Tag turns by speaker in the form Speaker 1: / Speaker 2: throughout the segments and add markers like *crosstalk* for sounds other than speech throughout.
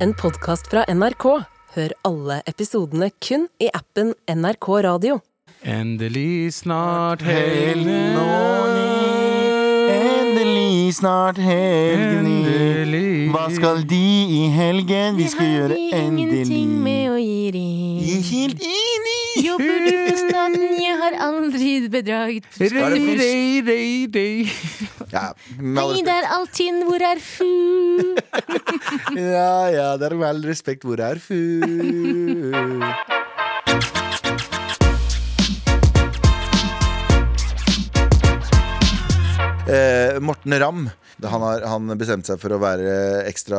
Speaker 1: en podkast fra NRK. Hør alle episodene kun i appen NRK Radio.
Speaker 2: Endelig snart
Speaker 3: Helgen og Endelig snart helgen i
Speaker 2: Endelig.
Speaker 3: Hva skal de i helgen? Vi skal gjøre endelig
Speaker 4: ingenting med å gi
Speaker 3: Jeg
Speaker 4: ring.
Speaker 3: er helt enig!
Speaker 4: Jobber du for staten, jeg har aldri bedraget.
Speaker 2: Rei, rei, rei, rei.
Speaker 3: Ja, med all
Speaker 4: Hei
Speaker 3: respekt.
Speaker 4: der, Altinn, hvor er
Speaker 3: *laughs*
Speaker 4: Fu?
Speaker 3: ja, ja, det er med all respekt. Hvor er Fu? Eh, Morten Ramm han har han bestemte seg for å være ekstra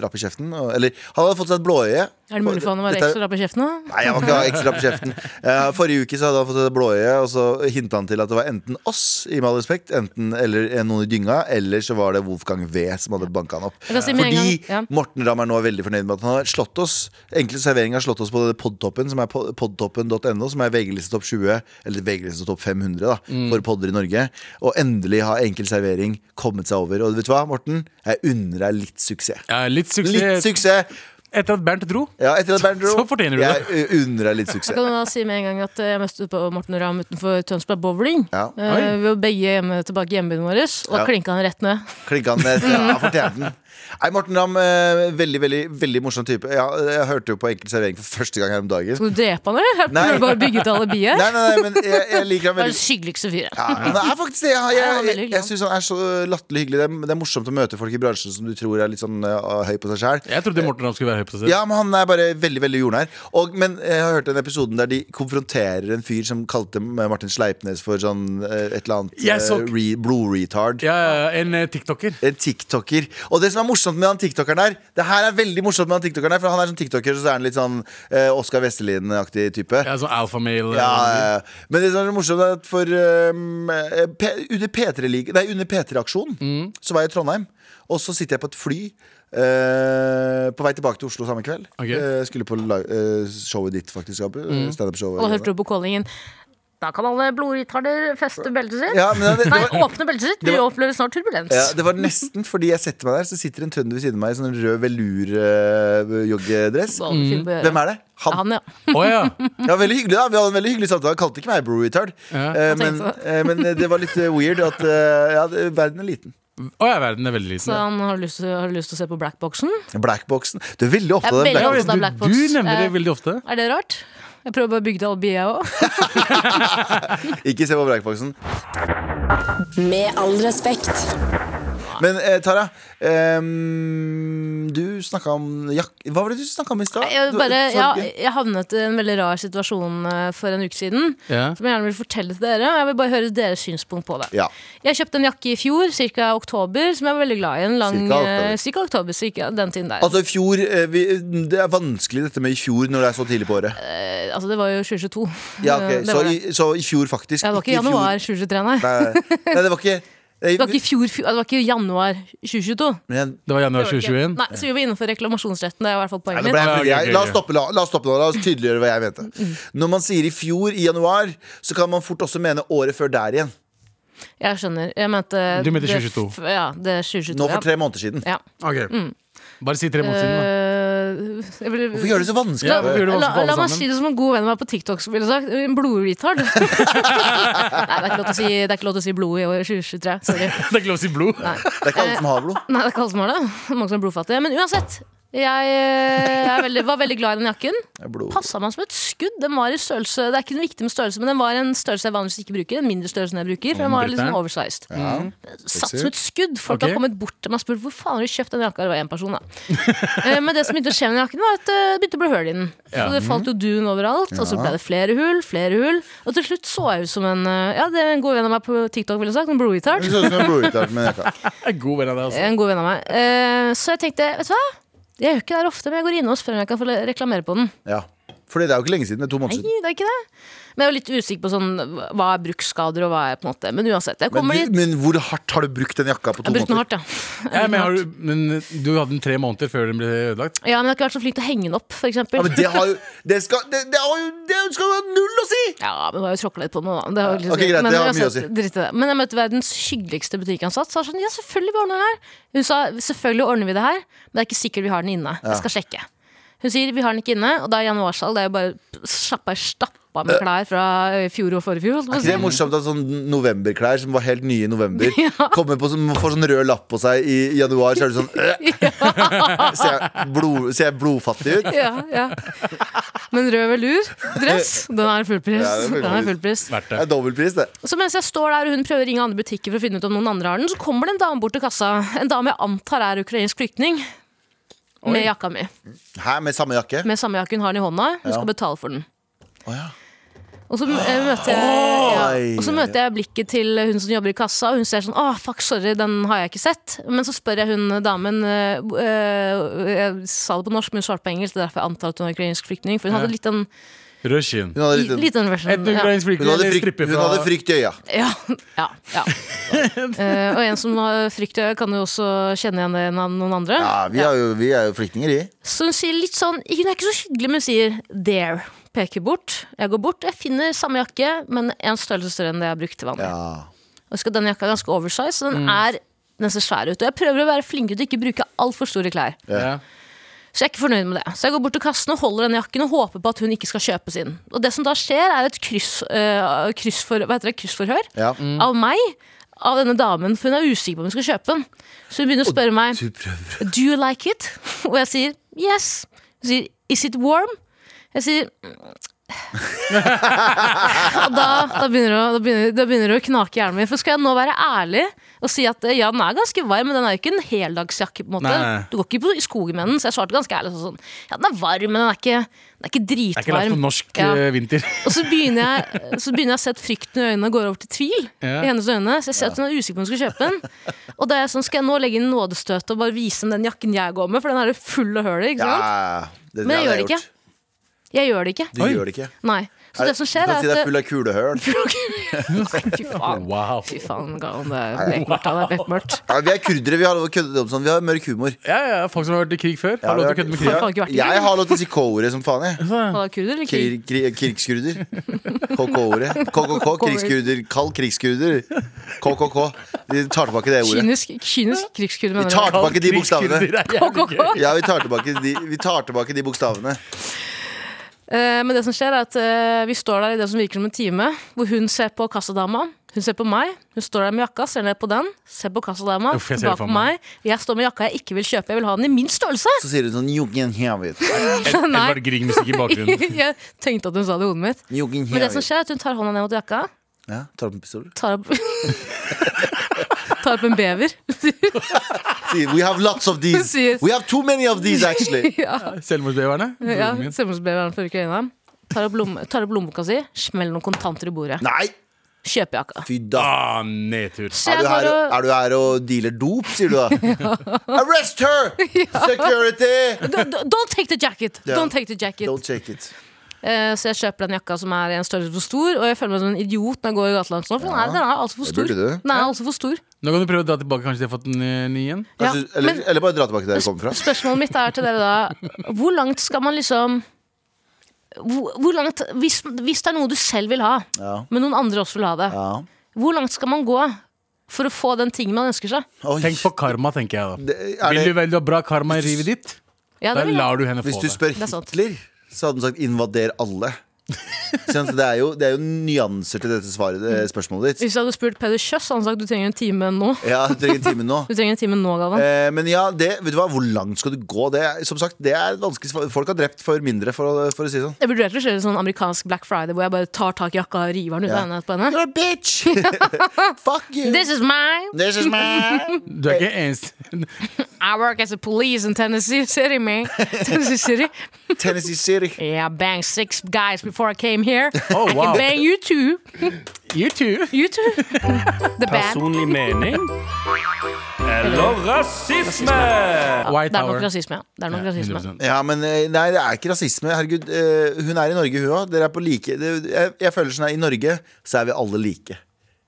Speaker 3: rapp i kjeften. og- Eller han hadde fått seg et blåøye.
Speaker 4: Er det mulig for han å være
Speaker 3: Dette er-
Speaker 4: ekstra rapp i kjeften? da?
Speaker 3: Nei, jeg må ikke ha ekstra på kjeften. Eh, forrige uke så hadde han fått et blåøye, og så hinta han til at det var enten oss, i med all respekt, enten eller eh, noen i dynga, eller så var det Wolfgang V som hadde banka han opp.
Speaker 4: Jeg kan si med en
Speaker 3: Fordi
Speaker 4: gang, ja.
Speaker 3: Morten Ramm er nå veldig fornøyd med at han har slått oss. Enkle servering har slått oss på denne podtoppen, som er po- podtoppen.no, som er VG-liste topp 20, eller VG-liste topp 500, da,
Speaker 2: Mm.
Speaker 3: for podder i Norge. Og endelig har Enkel servering kommet seg over. Og vet du hva, Morten? Jeg unner deg litt suksess.
Speaker 2: Ja, litt
Speaker 3: Litt
Speaker 2: suksess
Speaker 3: suksess!
Speaker 2: etter at Bernt dro.
Speaker 3: Ja, etter at Bernt dro.
Speaker 2: Så fortjener du det.
Speaker 3: Jeg unner deg litt suksess.
Speaker 4: Kan du da si med en gang at eh, jeg møtte på Morten og Ramm utenfor Tønsberg Bowling?
Speaker 3: Ja.
Speaker 4: Eh,
Speaker 2: Oi.
Speaker 4: vi var begge hjemme, tilbake i hjembyen vår, og da
Speaker 3: Ja.
Speaker 4: klinka han rett ned.
Speaker 3: Klinka han ned. Ja, fortjente den. Nei, Morten Ramm, eh, veldig veldig, veldig morsom type. Ja, jeg hørte jo på Enkel servering for første gang her om dagen.
Speaker 4: Skal du drepe han, eller? Jeg
Speaker 3: Nei.
Speaker 4: prøver bare å bygge ut alibiet.
Speaker 3: Nei, nei, nei, men jeg, jeg liker ham
Speaker 4: Det er
Speaker 3: veldig
Speaker 4: den skyggeligste fyren.
Speaker 3: ja, han er faktisk det. Jeg,
Speaker 4: Ja, han
Speaker 3: jeg,
Speaker 4: er veldig
Speaker 3: jeg,
Speaker 4: hyggelig,
Speaker 3: jeg syns han er så latterlig hyggelig. Det er, det er morsomt å møte folk i bransjen som du tror er litt sånn eh, høy på seg sjæl.
Speaker 2: Jeg trodde Morten Ramm skulle være høy på seg selv.
Speaker 3: Ja, men han er bare veldig veldig jordnær. Og, men jeg har hørt den episoden der de konfronterer en fyr som kalte Martin Sleipnes for sånn eh, et eller annet
Speaker 2: Jeg så-
Speaker 3: eh, re, blodretard.
Speaker 2: Ja, ja, en eh, tiktoker.
Speaker 3: En tiktoker. Og det som er morsomt med han tiktokeren her Det her er veldig morsomt med han tiktokeren her, for han er sånn tiktoker, så er han litt sånn eh, Oskar Vestelin-aktig type.
Speaker 2: Ja, sånn alfamale.
Speaker 3: Ja, ja, ja. men det som er morsomt, er at for um, eh, P- under P3-liga Nei, under P3-aksjonen,
Speaker 2: Mm.
Speaker 3: så var jeg i Trondheim. Og så sitter jeg på et fly eh, på vei tilbake til Oslo samme kveld.
Speaker 2: Ok. Mm.
Speaker 3: Eh, skulle på la- eh, showet ditt, faktisk, Abu. eh, Standup-showet.
Speaker 4: Og hørte du på callingen Da kan alle blodritarder feste beltet sitt.
Speaker 3: Ja, men det- det
Speaker 4: Nei,
Speaker 3: var-
Speaker 4: åpne beltet sitt. Vi
Speaker 3: det var-
Speaker 4: opplever snart turbulens.
Speaker 3: Ja, det var nesten fordi jeg setter meg der, så sitter en trønder ved siden av meg i sånn rød eh, velur-joggedress. Hvem er det? Han.
Speaker 4: Han, ja.
Speaker 2: Å ja.
Speaker 3: Ja, veldig hyggelig da, Vi hadde en veldig hyggelig samtale. Han kalte ikke meg bro retard.
Speaker 2: Ja.
Speaker 3: Eh,
Speaker 4: Jeg
Speaker 3: men,
Speaker 4: tenkte det.
Speaker 3: eh, men det var litt eh, weird at eh, ja, det- verden er liten.
Speaker 2: Å ja, verden er veldig
Speaker 4: Så
Speaker 2: liten.
Speaker 4: han har lyst, til- har lyst til å se på Blackboxen.
Speaker 3: Blackboxen. Du er veldig opptatt av den.
Speaker 4: Jeg er
Speaker 2: Ja, du,
Speaker 4: veldig opptatt- Sånn
Speaker 3: Blackboxen.
Speaker 4: Black Box.
Speaker 2: du nevner det
Speaker 4: Eh,
Speaker 2: veldig ofte.
Speaker 4: Er det rart? Jeg prøver bare å bygge til alibiet, jeg òg.
Speaker 3: Ikke se på Blackboxen.
Speaker 1: Med all respekt.
Speaker 3: Men eh, Tara, ehm, du snakka om jak Hva var det du snakka om i stad?
Speaker 4: Jeg,
Speaker 3: Du-
Speaker 4: bare,
Speaker 3: du-
Speaker 4: ja, jeg havnet i en veldig rar situasjon eh, for en uke siden.
Speaker 2: Ja.
Speaker 4: Som jeg gjerne vil fortelle til dere. Og jeg vil bare høre deres synspunkt på det.
Speaker 3: ja.
Speaker 4: Jeg kjøpte en jakke i fjor, ca. oktober, som jeg var veldig glad i. En lang,
Speaker 3: Cirka oktober.
Speaker 4: eh, cirka oktober, cirka den tiden der.
Speaker 3: Altså, i fjor eh, vi, Det er vanskelig dette med i fjor når det er så tidlig på året.
Speaker 4: Eh, altså, det var jo 2022.
Speaker 3: Ja,
Speaker 4: Eh, *laughs*
Speaker 3: ok,
Speaker 4: det
Speaker 3: så,
Speaker 4: var det.
Speaker 3: i, så i fjor, faktisk.
Speaker 4: Ja, det var ikke
Speaker 3: i fjor.
Speaker 4: januar 2023, nei.
Speaker 3: Nei, nei, det var ikke
Speaker 4: Det var ikke, i fjor, fj- det var ikke januar 2022.
Speaker 3: men-
Speaker 2: Det var januar
Speaker 4: Det var det ikke.
Speaker 2: 2021.
Speaker 4: Nei, så vi var innenfor reklamasjonsretten. Det er Mm. i hvert fall
Speaker 3: Nei,
Speaker 4: poenget
Speaker 3: nå
Speaker 4: mitt.
Speaker 3: ble jeg,
Speaker 2: Ja, ok,
Speaker 3: jeg,
Speaker 2: ok,
Speaker 3: la,
Speaker 2: ok.
Speaker 3: oss stoppe, la, la oss stoppe nå. La oss tydeliggjøre hva jeg mente. Når man sier i fjor, i januar, så kan man fort også mene året før der igjen.
Speaker 4: Jeg skjønner. Jeg mente
Speaker 2: Du mente
Speaker 4: det
Speaker 2: 2022.
Speaker 4: f- Ja, det er 2022.
Speaker 3: Nå for
Speaker 4: ja.
Speaker 3: tre måneder siden.
Speaker 4: Ja.
Speaker 2: Ok.
Speaker 4: Mm.
Speaker 2: Bare si tre måneder siden, da.
Speaker 4: Eh, jeg vil-
Speaker 3: Hvorfor gjør du det så vanskelig?
Speaker 4: La,
Speaker 2: Ja, hvorfor gjør du det vanskelig for
Speaker 4: la,
Speaker 2: alle
Speaker 4: la meg
Speaker 2: sammen?
Speaker 4: si det som en god venn av meg på TikTok som ville sagt. En
Speaker 2: *laughs*
Speaker 4: blodretard. Nei, det er ikke lov til å si, det er ikke lov til å si blod i år 2023. Sorry.
Speaker 2: *laughs* Det er ikke lov å si blod. *laughs*
Speaker 3: Det er ikke alle som har blod.
Speaker 4: Nei, det er ikke alle som har det. Mange som er blodfattige. Men uansett. Jeg, eh, er veldig, var veldig glad i den jakken.
Speaker 3: Det er blod.
Speaker 4: Passa meg som et skudd. Den var i størrelse Det er ikke noe viktig med størrelse, men den var en størrelse jeg vanligvis ikke bruker. En mindre størrelse enn jeg bruker. For den var litt sånn oversized.
Speaker 3: Ja.
Speaker 4: Satt som et skudd. Folk
Speaker 2: Ok.
Speaker 4: har kommet bort til meg og spurt hvor faen har du kjøpt den jakka. Det var én
Speaker 2: *laughs*
Speaker 4: person, da. Eh, Men det som begynte å skje med den jakken, var at eh, det begynte å bli hull i den. Så
Speaker 2: Ja.
Speaker 4: det falt jo dun overalt, og så ble det flere hull, flere hull. Og til slutt så jeg ut som en eh, Ja, det er en god venn av meg på TikTok ville sagt, en blodgitar.
Speaker 3: Det så ut som en blodutdart, men jeg kan.
Speaker 2: Jeg er god venn av deg, altså.
Speaker 4: En god venn av meg. Eh, Så jeg tenkte, vet du hva? Jeg gjør ikke det her ofte, men jeg går innom og spør om jeg kan få reklamere på den.
Speaker 3: Ja. Fordi det er jo ikke lenge siden. Det er to måneder siden.
Speaker 4: Nei, det er ikke det. Men jeg er jo litt usikker på sånn, hva er bruksskader og hva er på en måte Men uansett, jeg
Speaker 3: Men,
Speaker 4: kommer
Speaker 3: du,
Speaker 4: dit.
Speaker 3: men hvor hardt har du brukt den jakka på
Speaker 4: Jeg
Speaker 3: to
Speaker 4: har brukt den
Speaker 3: måneder?
Speaker 4: hardt, ja.
Speaker 2: Ja, men, har du, men du hadde den tre måneder før den ble ødelagt?
Speaker 4: ja. Men jeg har ikke vært så flink til å henge den opp, f.eks.
Speaker 3: Ja, men det har jo Det skal, det, det har jo, det skal jo ha null å si!
Speaker 4: *laughs* Ja, men det var jo tråkka litt på noe da. Det var jo litt
Speaker 3: Ok, greit,
Speaker 4: men,
Speaker 3: det har mye å
Speaker 4: uansett, dritt i det. men jeg møtte verdens hyggeligste butikkansatt. Så jeg var sånn, ja, selvfølgelig vi ordner det her. Hun sa selvfølgelig ordner vi det her, men det er ikke sikkert vi har den inne. Jeg skal sjekke. Hun sier vi har den ikke inne, og da er januarsalg. Det er jo bare sjappa stappa med klær fra i fjor og forrige fjor. holdt
Speaker 3: Er
Speaker 4: jeg
Speaker 3: ikke det
Speaker 4: på å si.
Speaker 3: morsomt at sånn novemberklær som var helt nye
Speaker 4: *laughs*
Speaker 3: i november, kommer på sånn, får sånn rød lapp på seg i januar, så er du
Speaker 4: *laughs*
Speaker 3: sånn øh. ser, jeg blod, ser jeg blodfattig ut?
Speaker 4: Ja, ja. Men rød velur, dress, den er fullpris.
Speaker 3: Ja, det er fullpris.
Speaker 4: den er fullpris.
Speaker 2: Verdt
Speaker 3: Det
Speaker 2: det.
Speaker 3: er dobbeltpris, det.
Speaker 4: Så mens jeg står der og hun prøver å ringe andre butikker for å finne ut om noen andre har den, så kommer det en dame bort til kassa. En dame jeg antar er ukrainsk flyktning. Med jakka mi.
Speaker 3: Hæ, med samme jakke?
Speaker 4: Med samme jakke hun har den i hånda. Hun
Speaker 3: Ja.
Speaker 4: skal betale for den.
Speaker 3: Å ja.
Speaker 4: Og så, eh, møter jeg, ja,
Speaker 3: Oi.
Speaker 4: og så møter jeg blikket til hun som jobber i kassa, og hun ser sånn Å, fuck, sorry, den har jeg ikke sett. Men så spør jeg hun damen eh, bo- eh, Jeg sa det på norsk, men hun svarte på engelsk. Det er derfor jeg antar at hun er ukrainsk flyktning. For hun hadde
Speaker 2: Ja.
Speaker 4: litt den
Speaker 2: Rushin.
Speaker 3: Hun hadde, litt,
Speaker 4: li- liten versjon.
Speaker 2: Et
Speaker 4: Ja.
Speaker 2: ukrainsk
Speaker 3: hun
Speaker 2: flyktning
Speaker 3: hadde,
Speaker 2: eller
Speaker 3: frykt,
Speaker 2: stripper
Speaker 3: hun
Speaker 2: fra
Speaker 3: hadde frykt i øya.
Speaker 4: Ja, ja, ja. Eh, og en som har frykt, i øyet, kan jo også kjenne igjen det enn noen andre.
Speaker 3: Ja, vi er jo, vi er jo flyktninger, vi.
Speaker 4: Så hun sier litt sånn Hun er ikke så hyggelig, men hun sier 'there'. Peker bort. Jeg går bort. Jeg finner samme jakke, men en størrelse større enn det jeg brukte til vanlig.
Speaker 3: Ja.
Speaker 4: Og skal denne jakka er ganske oversize, så den er den ser svær ut. Og jeg prøver å være flink til å ikke bruke altfor store klær.
Speaker 2: ja.
Speaker 4: Så jeg er ikke fornøyd med det. Så jeg går bort til kassen og holder denne jakken og håper på at hun ikke skal kjøpes inn. Og det som da skjer, er et kryss, eh, kryssfor, hva heter det, kryssforhør
Speaker 3: Ja.
Speaker 4: av meg, av denne damen, for hun er usikker på om hun skal kjøpe den. Så hun begynner å spørre meg
Speaker 3: Du prøver
Speaker 4: Do you like it? *laughs* Og jeg sier yes. Hun sier is it warm? Jeg sier "Mm." *laughs* og da, da, begynner det, å- da, begynner, da begynner det å knake i hjernen min. For skal jeg nå være ærlig og si at eh, ja, den er ganske varm, men den er jo ikke en heldagsjakke. på en måte
Speaker 2: Nei, nei.
Speaker 4: Du går ikke på, i skogen med den, så jeg svarte ganske ærlig sånn ja, den er varm, men den er ikke, den er ikke
Speaker 2: Det er ikke lagt
Speaker 4: dritvarm.
Speaker 2: på norsk
Speaker 4: Ja.
Speaker 2: eh, vinter.
Speaker 4: Og så begynner, jeg, så begynner jeg å se at frykten i øynene går over til tvil.
Speaker 2: Ja.
Speaker 4: I hennes øyne Så jeg ser at hun er usikker på om hun skal kjøpe den. Og da er jeg sånn, skal jeg nå legge inn nådestøtet og bare vise henne den jakken jeg går med, for den her er full av høl i. ikke
Speaker 3: Ja,
Speaker 4: sant?
Speaker 3: det,
Speaker 4: Men jeg
Speaker 3: hadde
Speaker 4: gjør det ikke.
Speaker 3: gjort.
Speaker 4: Jeg gjør det ikke.
Speaker 3: Du
Speaker 2: Oi.
Speaker 3: gjør det ikke.
Speaker 4: Nei. Så det som skjer,
Speaker 3: du
Speaker 4: er
Speaker 3: kan si det er
Speaker 4: at
Speaker 3: full av
Speaker 4: *laughs*
Speaker 3: kulehull.
Speaker 4: Fy faen.
Speaker 2: Wow.
Speaker 4: Fy faen, Galvan, det er bekmørkt. Det er bekmørkt.
Speaker 3: Ja, vi er kurdere, vi har lov å kødde om sånn. Vi har mørk humor.
Speaker 2: Ja, ja, folk som har vært i krig før.
Speaker 3: Ja,
Speaker 2: Har lov til å
Speaker 3: vi har-
Speaker 2: kødde med
Speaker 4: Faen,
Speaker 2: krig. Altså,
Speaker 4: faen, ikke vært i
Speaker 3: Jeg
Speaker 4: krig.
Speaker 3: har lov til å si K-ordet som faen, jeg.
Speaker 4: Hva, kurder eller krig?
Speaker 3: Krig- krig- Krigskurder. KK-ordet. KKK, krigskurder. Kald krigskurder. KKK. De tar tilbake det ordet.
Speaker 4: Kynisk, kynisk krigskurder,
Speaker 3: Vi
Speaker 4: mener
Speaker 3: tar
Speaker 4: du?
Speaker 3: tilbake de bokstavene.
Speaker 4: KKK.
Speaker 3: *laughs* Ja, vi tar tilbake de, vi tar tilbake de bokstavene.
Speaker 4: Eh, Men det som skjer er at eh, vi står der i det som virker som en time, hvor hun ser på kassadama, hun ser på meg, hun står der med jakka, ser ned på den, ser på kassadama,
Speaker 2: Uff, jeg ser det
Speaker 4: tilbake
Speaker 2: for
Speaker 4: på meg. Jeg står med jakka jeg ikke vil kjøpe, jeg vil ha den i min størrelse.
Speaker 3: Så sier hun sånn Jungen
Speaker 4: *laughs*
Speaker 3: Hevet.
Speaker 4: Nei.
Speaker 2: Edvard Grieg-musikk i
Speaker 4: *laughs*
Speaker 2: bakgrunnen.
Speaker 4: jeg tenkte at hun sa det i hodet mitt.
Speaker 3: Jungen
Speaker 4: Men det som
Speaker 3: Hevet.
Speaker 4: skjer er at hun tar hånda ned mot jakka,
Speaker 3: Ja, tar opp en pistol.
Speaker 4: tar opp *laughs* Tar opp en bever. *laughs*
Speaker 3: Sier We have lots of these.
Speaker 4: Sier-
Speaker 3: We have too many of these,
Speaker 4: *laughs*
Speaker 3: actually.
Speaker 4: ja,
Speaker 2: Selvmordsbeverne.
Speaker 4: ja,
Speaker 2: Broren min.
Speaker 4: Selvmordsbeveren fra Ukraina. Tar opp, lomme, tar opp lommeboka si, smeller noen kontanter i bordet.
Speaker 3: Nei,
Speaker 4: Kjøper jakka.
Speaker 3: fy da.
Speaker 2: Ah, nedtur.
Speaker 4: Så
Speaker 3: Er
Speaker 4: jeg
Speaker 3: du, her,
Speaker 4: går
Speaker 3: og-
Speaker 4: og
Speaker 3: er du her og dealer dop, sier
Speaker 4: *laughs*
Speaker 3: du da? Arrest her! Security!
Speaker 4: Don't don't take the jacket!
Speaker 3: Ja.
Speaker 4: Don't take the jacket.
Speaker 3: Don't check it.
Speaker 4: Eh, Så jeg kjøper den jakka som er en størrelse for stor, og jeg føler meg som en idiot når jeg går i gatelangs nå, for den er, den er altså for
Speaker 3: Det
Speaker 4: stor.
Speaker 3: burde du.
Speaker 4: Den er altså for stor.
Speaker 2: Nå kan du prøve å dra tilbake. Kanskje de har fått en eh, ny en?
Speaker 4: Ja,
Speaker 3: Kanskje, eller,
Speaker 4: men-
Speaker 3: eller bare dra tilbake der du kommer fra.
Speaker 4: Spørsmålet mitt er til dere da Hvor langt skal man liksom hvor, hvor langt, hvis, hvis det er noe du selv vil ha,
Speaker 3: Ja.
Speaker 4: men noen andre også vil ha det,
Speaker 3: Ja.
Speaker 4: hvor langt skal man gå for å få den tingen man ønsker seg?
Speaker 3: Oi.
Speaker 2: Tenk på karma, tenker jeg da.
Speaker 3: Det, er
Speaker 2: Vil du
Speaker 3: det,
Speaker 2: vel du ha bra karma i livet ditt?
Speaker 4: Ja,
Speaker 2: Da
Speaker 4: det vil jeg.
Speaker 2: lar du henne få
Speaker 3: hvis du
Speaker 2: det.
Speaker 3: spør
Speaker 4: er sant.
Speaker 3: Hitler, så hadde han sagt 'invader alle'. Sånn, så det, er jo, det er jo nyanser til dette svaret, eh, spørsmålet ditt.
Speaker 4: Hvis jeg hadde spurt Peder Kjøss, hadde han sagt du trenger en time nå.
Speaker 3: Ja, du trenger en time nå.
Speaker 4: Du trenger en time nå, Galvan.
Speaker 3: Eh, men ja, det, vet du hva, hvor langt skal du gå? Det er, som sagt, det er et vanskelig svar. Folk har drept for mindre, for å, for å si det sånn.
Speaker 4: Jeg vurderte å kjøre sånn amerikansk Black Friday hvor jeg bare tar tak i jakka og river den ut av
Speaker 3: Ja.
Speaker 4: henne på henne.
Speaker 3: You're a bitch! *laughs* Fuck you!
Speaker 4: This is mine!
Speaker 3: This is me!
Speaker 2: Du er ikke eneste
Speaker 4: I work as a police in Tennessee City,
Speaker 3: *laughs*
Speaker 4: man. Tennessee City.
Speaker 3: Tennessee City.
Speaker 4: Yeah, I banged six guys before I came here.
Speaker 2: *laughs* Oh,
Speaker 4: I
Speaker 2: wow.
Speaker 4: can bang you too.
Speaker 2: You too.
Speaker 4: You too. The band.
Speaker 5: Personlig mening eller rasisme.
Speaker 2: White
Speaker 4: Det er
Speaker 2: Tower.
Speaker 4: nok rasisme, ja. Det er nok
Speaker 2: Ja,
Speaker 4: rasisme.
Speaker 2: 100%.
Speaker 3: Ja, men eh, nei, det er ikke rasisme. Herregud, eh, hun er i Norge, hun òg. Dere er på like det- jeg, jeg føler sånn her, I Norge så er vi alle like.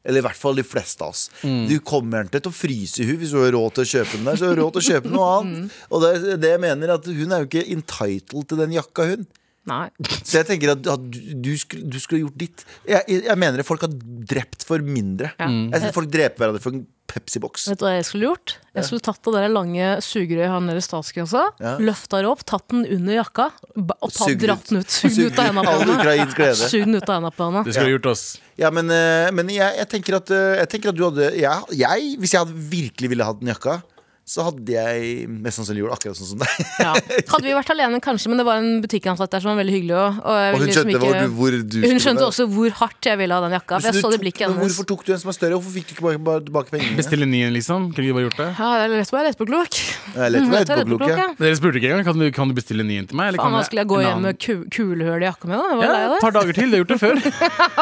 Speaker 3: Eller i hvert fall de fleste av oss.
Speaker 4: Mm.
Speaker 3: Du kommer ikke til å fryse i hun hvis hun har råd til å kjøpe den der. Så har hun råd til å kjøpe noe annet.
Speaker 4: Mm.
Speaker 3: Og det, er det jeg mener at hun er jo ikke entitled til den jakka, hun.
Speaker 4: Nei.
Speaker 3: Så jeg tenker at, at du, du, skulle, du skulle gjort ditt. Jeg, jeg, jeg mener at folk har drept for mindre.
Speaker 4: Ja.
Speaker 3: Jeg synes Folk dreper hverandre for en Pepsi-boks.
Speaker 4: Vet du hva jeg skulle gjort? Jeg skulle tatt det der lange sugerøyet han nede i statskassa,
Speaker 3: Ja.
Speaker 4: løfta det opp, tatt den under jakka ba- og ta,
Speaker 3: Sugd ut.
Speaker 4: dratt den ut. Sugd den ut av hendene på
Speaker 3: all
Speaker 4: henne.
Speaker 3: ukrainsk glede.
Speaker 4: Sugd den ut av hendene på henne.
Speaker 3: *laughs*
Speaker 2: Det skulle gjort oss.
Speaker 3: Ja, men, eh, men jeg, jeg, tenker at, eh, jeg tenker at du hadde jeg, jeg, Hvis jeg hadde virkelig ville hatt den jakka Så hadde jeg mest sannsynlig gjort akkurat sånn som deg
Speaker 4: Ja. Hadde vi vært alene, kanskje, men det var en butikkansatt der som var veldig hyggelig. Og, og jeg
Speaker 3: Og hun
Speaker 4: ville liksom
Speaker 3: skjønte
Speaker 4: ikke-
Speaker 3: hvor du- hvor du
Speaker 4: Hun
Speaker 3: skulle
Speaker 4: skjønte
Speaker 3: være.
Speaker 4: også hvor hardt jeg ville ha den jakka. For jeg
Speaker 3: Så
Speaker 4: så
Speaker 3: du
Speaker 4: det
Speaker 3: tok-
Speaker 4: blikket
Speaker 3: men
Speaker 4: hennes.
Speaker 3: Hvorfor tok du en som er større? Hvorfor fikk du ikke bare, bare tilbake pengene?
Speaker 2: Bestille en ny en, liksom. Kunne vi bare gjort det?
Speaker 4: Ja, det er lett å være rett på glok.
Speaker 2: *laughs*
Speaker 3: Jeg er lett å
Speaker 4: Mm,
Speaker 3: være rett på glok, ja.
Speaker 2: Dere spurte ikke engang. Kan du, kan du bestille en ny en til meg? eller
Speaker 4: Faen,
Speaker 2: kan
Speaker 4: hva
Speaker 2: jeg-
Speaker 4: skulle jeg gå
Speaker 2: en
Speaker 4: hjem
Speaker 2: annen?
Speaker 4: med ku- kulehull i jakka mi, da? Jeg var
Speaker 2: Ja,
Speaker 4: lei
Speaker 2: et
Speaker 4: av det.
Speaker 2: par dager til. Det har gjort det
Speaker 4: *laughs*
Speaker 2: før.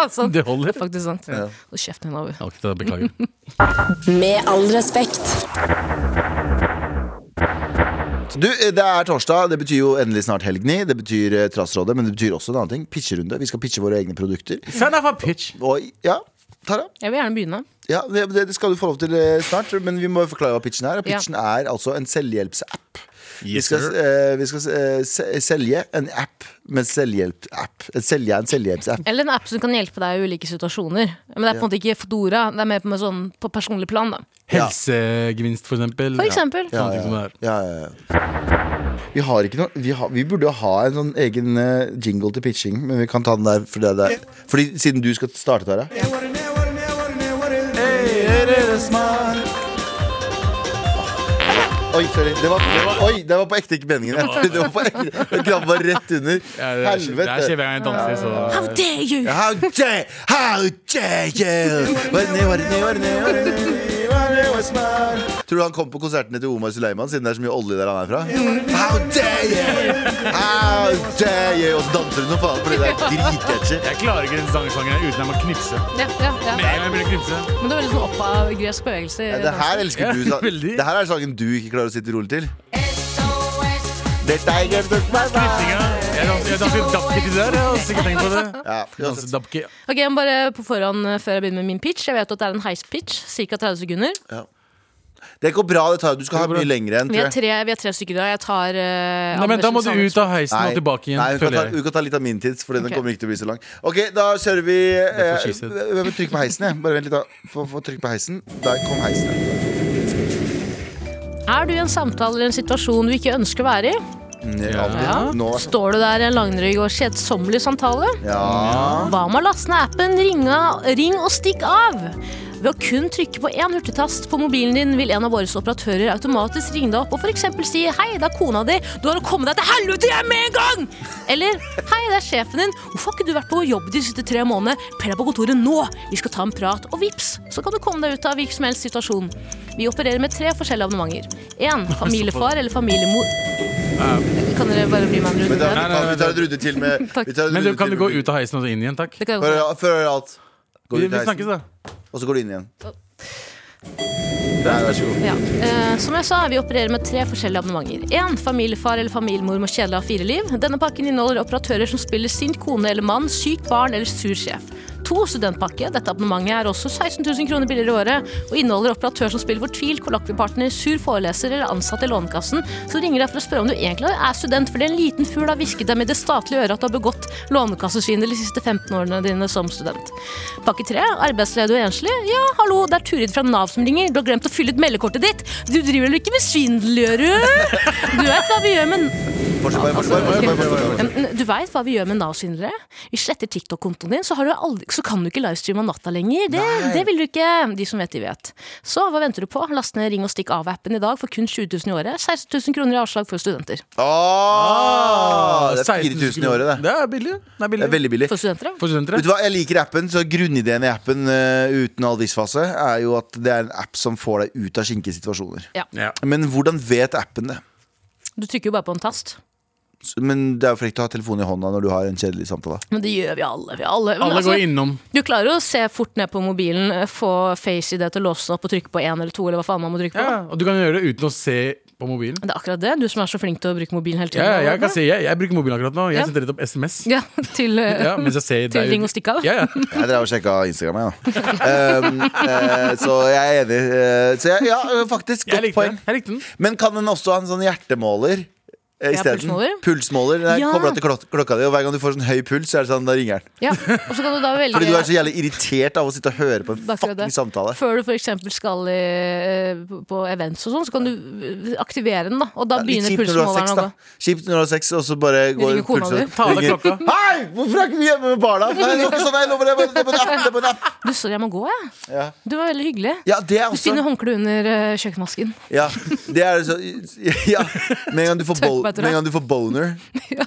Speaker 4: Altså,
Speaker 2: Det holder.
Speaker 4: Faktisk sant. Hold kjeften din, Abu.
Speaker 2: Jeg valgte å *laughs* Beklage.
Speaker 1: Med all respekt.
Speaker 3: Du, eh, det er torsdag, det betyr jo endelig snart helgni Det betyr eh, trassrådet, men det betyr også en annen ting Pitcherunde, vi skal pitche våre egne produkter
Speaker 2: Son of a pitch.
Speaker 3: Og ja, Tara
Speaker 4: Jeg vil gjerne begynne.
Speaker 3: ja, det, det skal du få lov til eh, snart Men vi må forklare hva pitchen er og
Speaker 4: Ja.
Speaker 3: Pitchen er altså en selvhjelpsapp Vi
Speaker 2: Yes,
Speaker 3: skal,
Speaker 2: sir.
Speaker 3: eh, vi skal eh, se- selge en app med selvhjelp-app. Selge en selvhjelpsapp.
Speaker 4: Eller en app som kan hjelpe deg i ulike situasjoner. Men det er på en måte ikke Fodora. Det er mer på, med sånn, på personlig plan, da.
Speaker 3: Ja.
Speaker 2: Helsegevinst, for eksempel.
Speaker 4: For eksempel.
Speaker 2: Ja. Sånne ting som det er.
Speaker 3: Ja, ja, ja. Vi har ikke noe Vi, har, vi burde jo ha en sånn egen eh, jingle til pitching, men vi kan ta den der. Fordi, det er, fordi siden du skal starte, Tara. Oi, sorry. Det var, oi, det var på ekte ikke meningen. *laughs* Det var på ekte, det krabba rett under.
Speaker 2: Ja, det er- Det er
Speaker 3: Helvete.
Speaker 2: skjevt hver gang jeg danser, så
Speaker 4: How dare you!
Speaker 3: How dare, how dare you Tror du han kom på konsertene til Omar Suleiman Siden det er så mye olje der han er fra How dare you How dare you Og så danser hun som faen Fordi det er dritketsje
Speaker 2: Jeg klarer ikke den sangsangen her uten at jeg må knipse.
Speaker 4: Ja, ja, ja.
Speaker 2: Med en gang jeg begynner å knipse.
Speaker 4: Men det er veldig sånn opp av gresk bevegelse. i
Speaker 3: ja, Det her elsker du
Speaker 2: Ja,
Speaker 3: sa-
Speaker 2: veldig.
Speaker 3: Det her er sangen du ikke klarer å sitte rolig til The tiger took my mind.
Speaker 2: Knipsinga. Jeg danser, jeg danser dabke til der. Jeg har sikkert tenkt på det.
Speaker 3: Ja,
Speaker 2: Jeg danser
Speaker 3: uansett.
Speaker 2: dabke.
Speaker 4: dansen. Ok, jeg må bare på forhånd eh, før jeg begynner med min pitch. Jeg vet at det er en heispitch. Cirka 30 sekunder.
Speaker 3: det går bra, det tar Du skal ha mye lengre enn
Speaker 4: Vi
Speaker 3: tror
Speaker 4: er
Speaker 3: jeg.
Speaker 4: tre, vi er tre stykker i dag. Jeg tar eh,
Speaker 2: Nei, men Da må du
Speaker 4: Andersen
Speaker 2: ut av heisen og
Speaker 3: Nei.
Speaker 2: tilbake igjen.
Speaker 3: Nei, vi kan,
Speaker 2: føler
Speaker 3: ta,
Speaker 2: jeg.
Speaker 3: vi kan ta litt av min tids, for den
Speaker 4: Ok.
Speaker 3: kommer ikke til å bli så lang. Ok, da kjører vi eh,
Speaker 2: Derfor skisset.
Speaker 3: eh, Trykk på heisen, jeg. Bare vent litt, da. Få, få trykk på heisen. Der kom heisen.
Speaker 4: Samuelsen. Er du i en samtale eller en situasjon du ikke ønsker å være i?
Speaker 3: Ja.
Speaker 4: Ja.
Speaker 3: Nå.
Speaker 4: Står du der i en langdryg og kjedsommelig samtale?
Speaker 3: Ja.
Speaker 4: Hva med å laste ned appen, ringe, ring og stikk av? Ved å kun trykke på én hurtigtast på mobilen din, vil en av våre operatører automatisk ringe deg opp og f.eks. si 'Hei, det er kona di. Du har å komme deg til helvete hjem med en gang!' Eller 'Hei, det er sjefen din. Hvorfor har ikke du vært på jobb de siste tre månedene? Pell deg på kontoret nå! Vi skal ta en prat.' Og vips, så kan du komme deg ut av hvilken som helst situasjon. Vi opererer med tre forskjellige abonnementer.
Speaker 3: *laughs*
Speaker 4: Én familiefar eller familiemor. Kan dere bare bli med en
Speaker 3: Men
Speaker 4: runde
Speaker 3: da,
Speaker 4: der?
Speaker 3: vi, tar, vi tar en runde til med
Speaker 4: Takk.
Speaker 3: vi tar en
Speaker 2: Men du,
Speaker 3: runde
Speaker 2: kan du
Speaker 3: til
Speaker 2: gå
Speaker 3: med-
Speaker 2: ut av heisen og så inn igjen? Takk.
Speaker 4: Det kan jeg godt
Speaker 3: Før,
Speaker 4: gjøre.
Speaker 3: før alt. Gå
Speaker 2: Vi,
Speaker 3: ut
Speaker 2: vi
Speaker 3: av
Speaker 2: snakkes,
Speaker 3: heisen, Ah,
Speaker 2: da.
Speaker 3: og så går du inn igjen. Der, vær så god.
Speaker 4: Ja. Eh, som jeg sa, vi opererer med tre forskjellige abonnementer. En, familiefar eller familiemor må kjedelig ha fire liv. Denne pakken inneholder operatører som spiller sint kone eller mann, sykt barn eller sur sjef. To, studentpakke. Dette abonnementet er også 16 000 kroner billigere i året, og inneholder operatør som spiller fortvilt kollokviepartner, sur foreleser eller ansatt i Lånekassen, som ringer deg for å spørre om du egentlig er student fordi en liten fugl har hvisket deg med det statlige øret at du har begått lånekassesvindel de siste 15 årene dine som student. Pakke tre, arbeidsledig og enslig. Ja, hallo, det er Turid fra Nav som ringer. Du har glemt å fylle ut meldekortet ditt. Du driver vel ikke med svindel, gjør du? Du vet hva vi gjør med
Speaker 3: Fortsett, bare, fortsett, bare, fortsett, bare, fortsett, bare,
Speaker 4: Ja, men Du vet hva vi gjør med Nav-svindlere? Vi sletter TikTok-kontoen din, så, har du aldri, så kan du ikke livestreame om natta lenger. Det, det vil du ikke. De som vet, de vet. Så hva venter du på? Last ned Ring og stikk av-appen i dag for kun 20 000 i året. 16 000 kroner i avslag for studenter.
Speaker 3: fortsett. Åh, Det er 4000 i året, det.
Speaker 2: Det er billig. Det er
Speaker 3: Det
Speaker 2: billig.
Speaker 3: er veldig billig.
Speaker 4: For studenter, ja.
Speaker 2: For studenter.
Speaker 3: Vet du hva, Jeg liker appen, så grunnideen i appen eh, uten all dissfase er jo at det er en app som får deg ut av skinkesituasjoner.
Speaker 4: ja.
Speaker 2: Ja.
Speaker 3: Men hvordan vet appen det?
Speaker 4: Du trykker jo bare på en tast.
Speaker 3: S- Men det er jo frekt å ha telefonen i hånda når du har en kjedelig samtale.
Speaker 4: Men det gjør vi alle. Vi alle. Men
Speaker 2: Alle
Speaker 4: altså,
Speaker 2: går innom.
Speaker 4: Du klarer jo å se fort ned på mobilen, eh, få face i det til å låse den opp og trykke på én eller to. Eller hva faen man må trykke på.
Speaker 2: Ja, og du kan gjøre det uten å se på mobilen.
Speaker 4: Det er akkurat det. Du som er så flink til å bruke mobilen hele tiden.
Speaker 2: Ja, ja, jeg, kan si, jeg, jeg bruker mobilen akkurat nå. Jeg
Speaker 4: Ja.
Speaker 2: sendte rett opp SMS.
Speaker 4: Ja, til, eh,
Speaker 2: Ja, mens jeg ser
Speaker 4: til
Speaker 2: deg-
Speaker 4: ring og stikk av.
Speaker 2: Ja, ja.
Speaker 3: Jeg drev og sjekka Instagram, jeg,
Speaker 4: *laughs*
Speaker 3: da. Um, eh, så jeg er enig. Eh, så jeg, ja, faktisk.
Speaker 2: Jeg
Speaker 3: Godt
Speaker 2: likte den.
Speaker 3: poeng.
Speaker 2: Jeg likte den.
Speaker 3: Men kan den også ha en sånn hjertemåler?
Speaker 4: Ja,
Speaker 3: eh, Isteden.
Speaker 4: pulsmåler.
Speaker 3: Pulsmåler. Den er
Speaker 4: Ja.
Speaker 3: koblet til klok klokka di, og hver gang du får sånn høy puls, så er det sånn, da ringer den.
Speaker 4: Ja. Og så kan du da velge
Speaker 3: Fordi du er så jævlig irritert av å sitte og høre på en
Speaker 4: Akkurat det.
Speaker 3: fucking samtale.
Speaker 4: Før du for eksempel skal i, eh, på events og sånn, så kan du aktivere den, da. Og da
Speaker 3: Det er litt
Speaker 4: begynner
Speaker 3: kjipt når du har
Speaker 4: pulsmåleren
Speaker 3: sex,
Speaker 4: å
Speaker 3: da.
Speaker 4: gå.
Speaker 3: Kjipt når du har sex, og så bare går
Speaker 4: ringer kona
Speaker 3: pulsen
Speaker 4: di.
Speaker 2: Ta av deg
Speaker 3: Ringer.
Speaker 2: klokka.
Speaker 3: Hei! Hvorfor er ikke vi hjemme med barna? Nei, det var ikke sånn, jeg lover det. Det er på en app. Det er på en app.
Speaker 4: Du, sorry, jeg må gå, jeg.
Speaker 3: Ja.
Speaker 4: Du var veldig hyggelig.
Speaker 3: ja, det er
Speaker 4: Du
Speaker 3: også
Speaker 4: finner håndkleet under eh, kjøkkenmasken.
Speaker 3: Ja, det er så ja. Med en gang du får, bo
Speaker 4: Tørk meg til deg.
Speaker 3: med en gang du får boner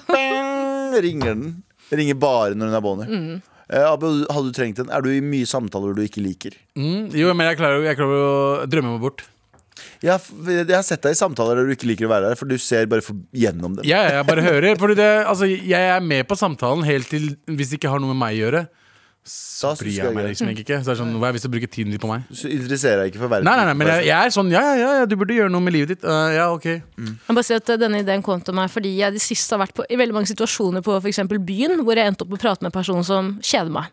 Speaker 3: bang, Ringer den Ringer bare når hun er boner
Speaker 4: Mm.
Speaker 3: eh, Abu, hadde du trengt den? Er du i mye samtaler du ikke liker?
Speaker 2: Mm, jo, men jeg klarer, jo- jeg klarer å drømme meg bort.
Speaker 3: Jeg har, f- jeg har sett deg i samtaler der du ikke liker å være der For du ser bare for, gjennom dem
Speaker 2: Ja, ja, jeg bare hører. Fordi det, altså, jeg er med på samtalen helt til hvis det ikke har noe med meg å gjøre.
Speaker 3: Da synes
Speaker 2: Bryr
Speaker 3: jeg
Speaker 2: jeg meg
Speaker 3: det.
Speaker 2: liksom egentlig ikke. Så det er sånn, Hva er vits i å bruke tiden din på meg?
Speaker 3: Du interesserer deg ikke for verden
Speaker 2: Nei, nei, nei, men jeg, jeg er sånn ja, ja, ja, ja, du burde gjøre noe med livet ditt. Eh, ja, ok.
Speaker 4: Jeg må bare si at eh, Denne ideen kom til meg fordi jeg de siste har vært på, i veldig mange situasjoner på for eksempel byen hvor jeg endte opp med å prate med en person som kjeder meg.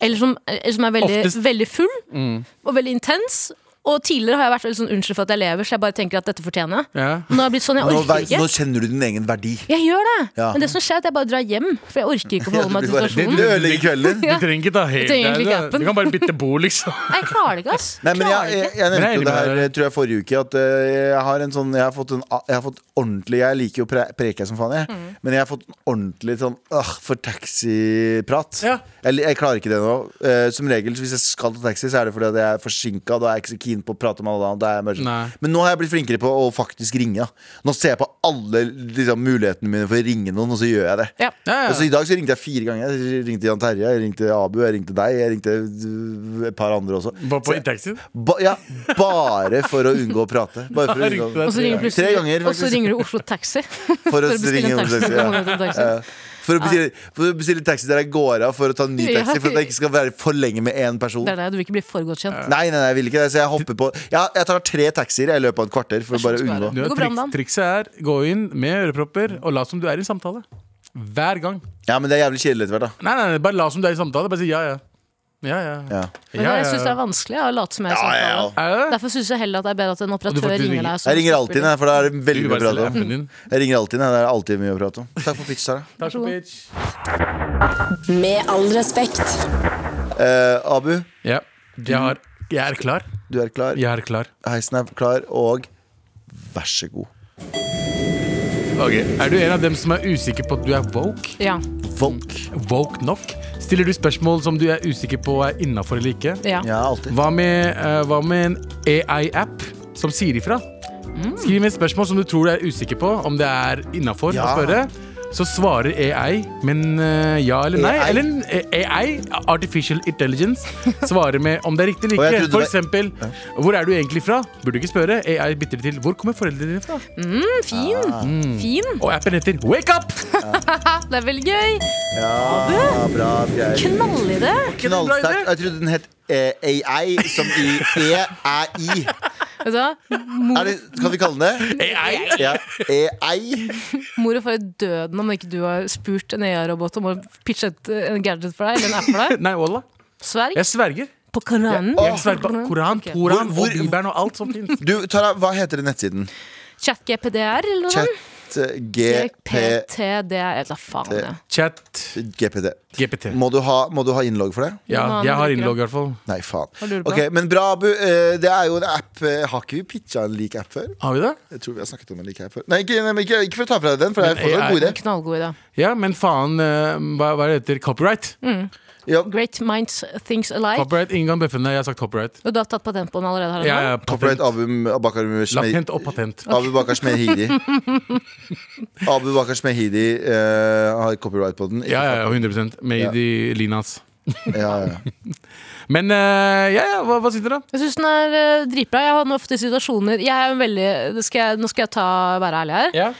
Speaker 4: Eller som, eh, eller som er veldig,
Speaker 2: Oftest.
Speaker 4: veldig full
Speaker 3: Mm.
Speaker 4: og veldig intens. Og tidligere har jeg vært veldig sånn unnskyld for at jeg lever, så jeg bare tenker at dette fortjener jeg.
Speaker 2: Ja.
Speaker 4: Nå har jeg blitt sånn, jeg orker
Speaker 3: nå, vei- nå
Speaker 4: ikke.
Speaker 3: kjenner du din egen verdi
Speaker 4: Jeg gjør det,
Speaker 3: Ja.
Speaker 4: men det som skjer er at jeg bare drar hjem. For jeg orker ikke å
Speaker 3: Ja,
Speaker 4: forholde
Speaker 3: du,
Speaker 4: meg
Speaker 3: blir
Speaker 4: til
Speaker 3: bare-
Speaker 4: situasjonen.
Speaker 3: *laughs* du ødelegger kvelden din
Speaker 2: Du trenger ikke ta helt
Speaker 4: trenger egentlig ikke
Speaker 2: der. Du
Speaker 4: appen.
Speaker 2: kan bare bytte bord, liksom.
Speaker 4: Nei, Jeg klarer det ikke, ass.
Speaker 3: Nei, men jeg,
Speaker 4: Klarer det
Speaker 3: jeg,
Speaker 4: ikke.
Speaker 3: jeg nevnte
Speaker 2: Men jeg er
Speaker 3: jo
Speaker 2: enig
Speaker 3: det
Speaker 2: med
Speaker 3: her
Speaker 2: deg.
Speaker 3: eh, tror jeg forrige uke at eh, jeg har en sånn Jeg har fått, en, a- jeg har fått ordentlig Jeg liker jo pre preke som faen, jeg.
Speaker 4: Mm.
Speaker 3: Men jeg har fått en ordentlig sånn øh, for taxiprat.
Speaker 2: Ja.
Speaker 3: Jeg, jeg klarer ikke det nå. Eh, som regel hvis jeg skal ta taxi, så er det fordi at jeg er forsinka. Da er jeg ikke så keen på å prate med alle. andre, Da er jeg bare
Speaker 2: Nei.
Speaker 3: sånn. Men nå har jeg blitt flinkere på å faktisk ringe. da. Nå ser jeg på alle liksom, mulighetene mine for å ringe noen, og så gjør jeg det.
Speaker 4: Ja.
Speaker 2: Ja,
Speaker 3: Og så
Speaker 2: ja.
Speaker 3: I dag så ringte jeg fire ganger. Jeg ringte Jan Terje, jeg ringte Abu, jeg ringte deg, jeg ringte øh, et par andre også.
Speaker 2: Bare
Speaker 3: Så-
Speaker 2: på i taxien.
Speaker 3: Ba, ja, bare for å unngå å prate. Bare for å
Speaker 2: Riktig,
Speaker 3: unngå
Speaker 2: det
Speaker 4: Og så ringer,
Speaker 2: er-
Speaker 4: plutselig-
Speaker 3: Tre ganger,
Speaker 4: og så
Speaker 3: faktisk.
Speaker 4: ringer du Oslo Taxi
Speaker 3: *laughs* For å
Speaker 4: for å bestille
Speaker 3: ringe
Speaker 4: en taxi.
Speaker 3: Oslo Taxi,
Speaker 4: Kommer du til en taxi.
Speaker 3: Eh, For å, bestille, for å bestille taxi der jeg går av for å ta en ny
Speaker 4: Ja.
Speaker 3: taxi. For at jeg ikke skal være for lenge med én person.
Speaker 4: Det er
Speaker 3: Nei,
Speaker 4: det, du vil ikke bli forgodkjent.
Speaker 3: nei, nei, jeg vil ikke det. Så jeg hopper på ja, Jeg tar tre taxier i løpet av et kvarter for å bare
Speaker 4: sånn skal det
Speaker 3: unngå.
Speaker 2: Du,
Speaker 4: Det går bra om
Speaker 2: triks,
Speaker 4: dagen.
Speaker 2: trikset er gå inn med ørepropper og lat som du er i en samtale. Hver gang.
Speaker 3: Ja, men det er jævlig kjedelig etter hvert, da.
Speaker 2: Nei, nei, nei, bare la som du er i samtale. Bare si ja, ja. Ja, ja.
Speaker 3: Ja.
Speaker 4: Men
Speaker 2: Ja,
Speaker 4: jeg
Speaker 2: ja.
Speaker 4: syns det er vanskelig å late som jeg er i
Speaker 3: Ja, ja,
Speaker 4: samtale.
Speaker 3: ja.
Speaker 2: Er det det?
Speaker 4: Derfor syns jeg heller at det er bedre at en operatør
Speaker 2: faktisk
Speaker 4: ringer,
Speaker 2: ringer.
Speaker 4: deg. som
Speaker 3: Jeg ringer alltid,
Speaker 4: spiller.
Speaker 3: jeg, for da er det
Speaker 2: Du
Speaker 3: veldig mye å
Speaker 2: bare selger
Speaker 3: prate om.
Speaker 2: appen din.
Speaker 4: Mm.
Speaker 3: Jeg ringer alltid, jeg. Det er alltid mye å prate om. Takk for pitch, Sara.
Speaker 2: Takk for bitch.
Speaker 1: Med all respekt.
Speaker 3: Eh, Abu,
Speaker 2: Ja. Jeg, har, jeg er klar.
Speaker 3: du er klar.
Speaker 2: Jeg er klar.
Speaker 3: Heisen er klar, og vær så god.
Speaker 2: Ok. Er du en av dem som er usikker på at du er woke?
Speaker 4: Ja,
Speaker 3: Vonk.
Speaker 4: Mm.
Speaker 2: Woke nok? Stiller du spørsmål som du er usikker på er innafor eller ikke?
Speaker 4: ja.
Speaker 3: Ja, alltid.
Speaker 2: Hva med, eh, hva med en AI-app som sier ifra? Skriv med et spørsmål som du tror du er usikker på, om det er innafor
Speaker 3: Ja.
Speaker 2: å spørre. Så svarer AI, men eh, ja eller nei.
Speaker 3: AI.
Speaker 2: Eller en eh, AI, Artificial Intelligence, svarer med om det er
Speaker 3: *laughs*
Speaker 2: riktig
Speaker 3: Og
Speaker 2: eller ikke.
Speaker 3: jeg trodde
Speaker 2: For
Speaker 3: det-
Speaker 2: eksempel, hvor er du egentlig fra? Burde du ikke spørre. AI bytter til hvor kommer foreldrene dine fra?
Speaker 4: Fin.
Speaker 3: Mm.
Speaker 4: Fin.
Speaker 2: Og appen heter Wake Up!
Speaker 4: Det er veldig gøy.
Speaker 3: Ja, bra greier.
Speaker 4: Knallidé.
Speaker 3: Knallsterkt. Jeg trodde den het eh, AI, som i E, E-æ-i.
Speaker 4: Vet du hva? Mor,
Speaker 3: Kan vi kalle den det?
Speaker 2: AI?
Speaker 3: Ja. E-ei.
Speaker 4: mor og far er døden om ikke du har spurt en EA-robot om å pitche et, en gadget for deg. Eller en app for
Speaker 3: *laughs*
Speaker 4: deg.
Speaker 2: Nei, wallah.
Speaker 4: Sverg
Speaker 2: Jeg sverger.
Speaker 4: på Koranen.
Speaker 2: Jeg sverger på Koran,
Speaker 4: Ok.
Speaker 2: Toran
Speaker 3: Hvor-
Speaker 2: og Bibelen og alt som fins.
Speaker 3: Du, Tara, hva heter den nettsiden?
Speaker 4: Chat-GPDR eller noe sånt.
Speaker 3: Chat-GPD.
Speaker 4: PTDR. Hva faen det er.
Speaker 2: Chat GPT.
Speaker 3: Må du ha, må du ha innlogg for det?
Speaker 2: Ja,
Speaker 4: Noen
Speaker 2: jeg har
Speaker 4: andre
Speaker 2: innlogg, i hvert fall.
Speaker 3: Nei, faen.
Speaker 4: Hva lurer du på?
Speaker 3: Ok, Men bra, Abu. Eh, Det er jo en app. eh, Har ikke vi pitcha en lik app før?
Speaker 2: Har vi det?
Speaker 3: Jeg tror vi har snakket om en lik app før. Nei, ikke, nei, men ikke, ikke for å ta fra deg den, for det er fortsatt
Speaker 2: AI
Speaker 3: en god idé.
Speaker 4: Knallgod idé.
Speaker 2: Ja, men faen, eh, hva, hva er det heter? Copyright?
Speaker 3: Ja,
Speaker 4: Great minds thinks alike.
Speaker 2: Copyright, Ingen kan bøffe den, jeg har sagt copyright.
Speaker 4: Og du har tatt patent på den allerede? Har du
Speaker 2: Ja,
Speaker 4: det?
Speaker 2: ja,
Speaker 3: Copyright
Speaker 2: patent.
Speaker 3: Abu Bakar
Speaker 2: Latent og patent.
Speaker 3: Abu Bakar
Speaker 2: *laughs*
Speaker 3: Smehidi. Abu Bakar Smehidi eh, har copyright på den. Ikke
Speaker 2: Ja, ja, ja, 100 Made
Speaker 3: Ja.
Speaker 2: i Linas.
Speaker 3: faen. ja, ja.
Speaker 2: Men eh, ja, ja, hva, hva syns dere? da?
Speaker 4: Jeg syns den er eh, dritbra. Jeg har nå ofte situasjoner jeg er en veldig, det skal jeg, Nå skal jeg ta, være ærlig her.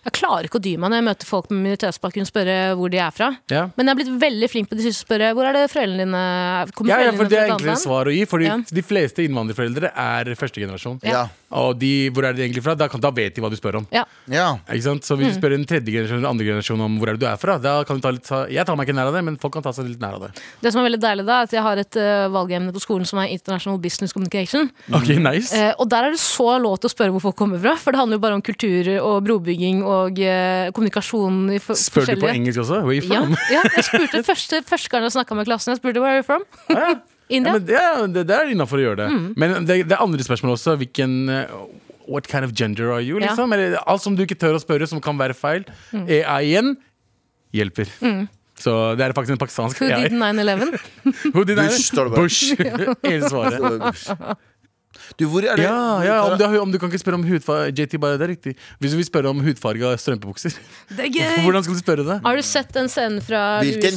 Speaker 4: Jeg klarer ikke å dy meg når jeg møter folk med minoritetsbakgrunn og spørre hvor de er fra.
Speaker 2: Ja.
Speaker 4: Men jeg har blitt veldig flink på de siste å spørre hvor er det foreldrene dine kommer
Speaker 2: Ja, ja,
Speaker 4: foreldrene
Speaker 2: for Det
Speaker 4: dine
Speaker 2: er
Speaker 4: fra et annet
Speaker 2: enklere
Speaker 4: land?
Speaker 2: svar å gi, Fordi
Speaker 4: Ja.
Speaker 2: de fleste innvandrerforeldre er første generasjon.
Speaker 3: Ja.
Speaker 2: Og de, hvor er de egentlig fra? Da, kan, da vet de hva du spør om.
Speaker 4: Ja.
Speaker 3: ja.
Speaker 2: Ikke sant? Så
Speaker 4: Mm.
Speaker 2: hvis du spør en tredje generasjon eller andre generasjon om hvor er det du er fra, da kan du ta litt ta- Jeg tar meg ikke nær av det, men folk kan ta seg litt nær av det.
Speaker 4: Det som er veldig deilig, da, er at jeg har et eh, valgemne på skolen som er International Business Communication.
Speaker 2: Ok, nice
Speaker 4: Eh, og der er det så lov til å spørre hvor folk kommer fra, for det handler jo bare om kultur og brobygging og eh, kommunikasjon i for
Speaker 2: Spør du på
Speaker 4: forskjellige-
Speaker 2: engelsk også? Where are you
Speaker 4: Ja,
Speaker 2: from?
Speaker 4: ja, jeg spurte første, første gang jeg snakka med klassen, jeg spurte 'Where are you from?'
Speaker 2: Ja. Ja,
Speaker 4: India.
Speaker 2: men, ja, det, det er innafor å gjøre det.
Speaker 4: Mm.
Speaker 2: Men det, det er andre spørsmål også. Hvilken eh, What kind of gender are you?
Speaker 4: Ja. Mm.
Speaker 2: Liksom? Eller alt som du ikke tør å spørre, som kan være feil. AI igjen hjelper. Så det er faktisk en pakistansk
Speaker 4: Who
Speaker 2: AI.
Speaker 4: did 9-11?
Speaker 2: *laughs* Who did I-
Speaker 3: Bush, står det
Speaker 4: *laughs*
Speaker 3: bare.
Speaker 2: Bush. *laughs* Hele svaret.
Speaker 3: Du, hvor er det
Speaker 2: Ja, ja om, du, om du kan ikke spørre om hudfarge JT, bare det er riktig. Hvis du vil spørre om hudfarge av strømpebukser, *laughs*
Speaker 4: Det er
Speaker 2: hvordan skal du spørre det?
Speaker 4: Har du sett den scenen fra
Speaker 3: Hvilken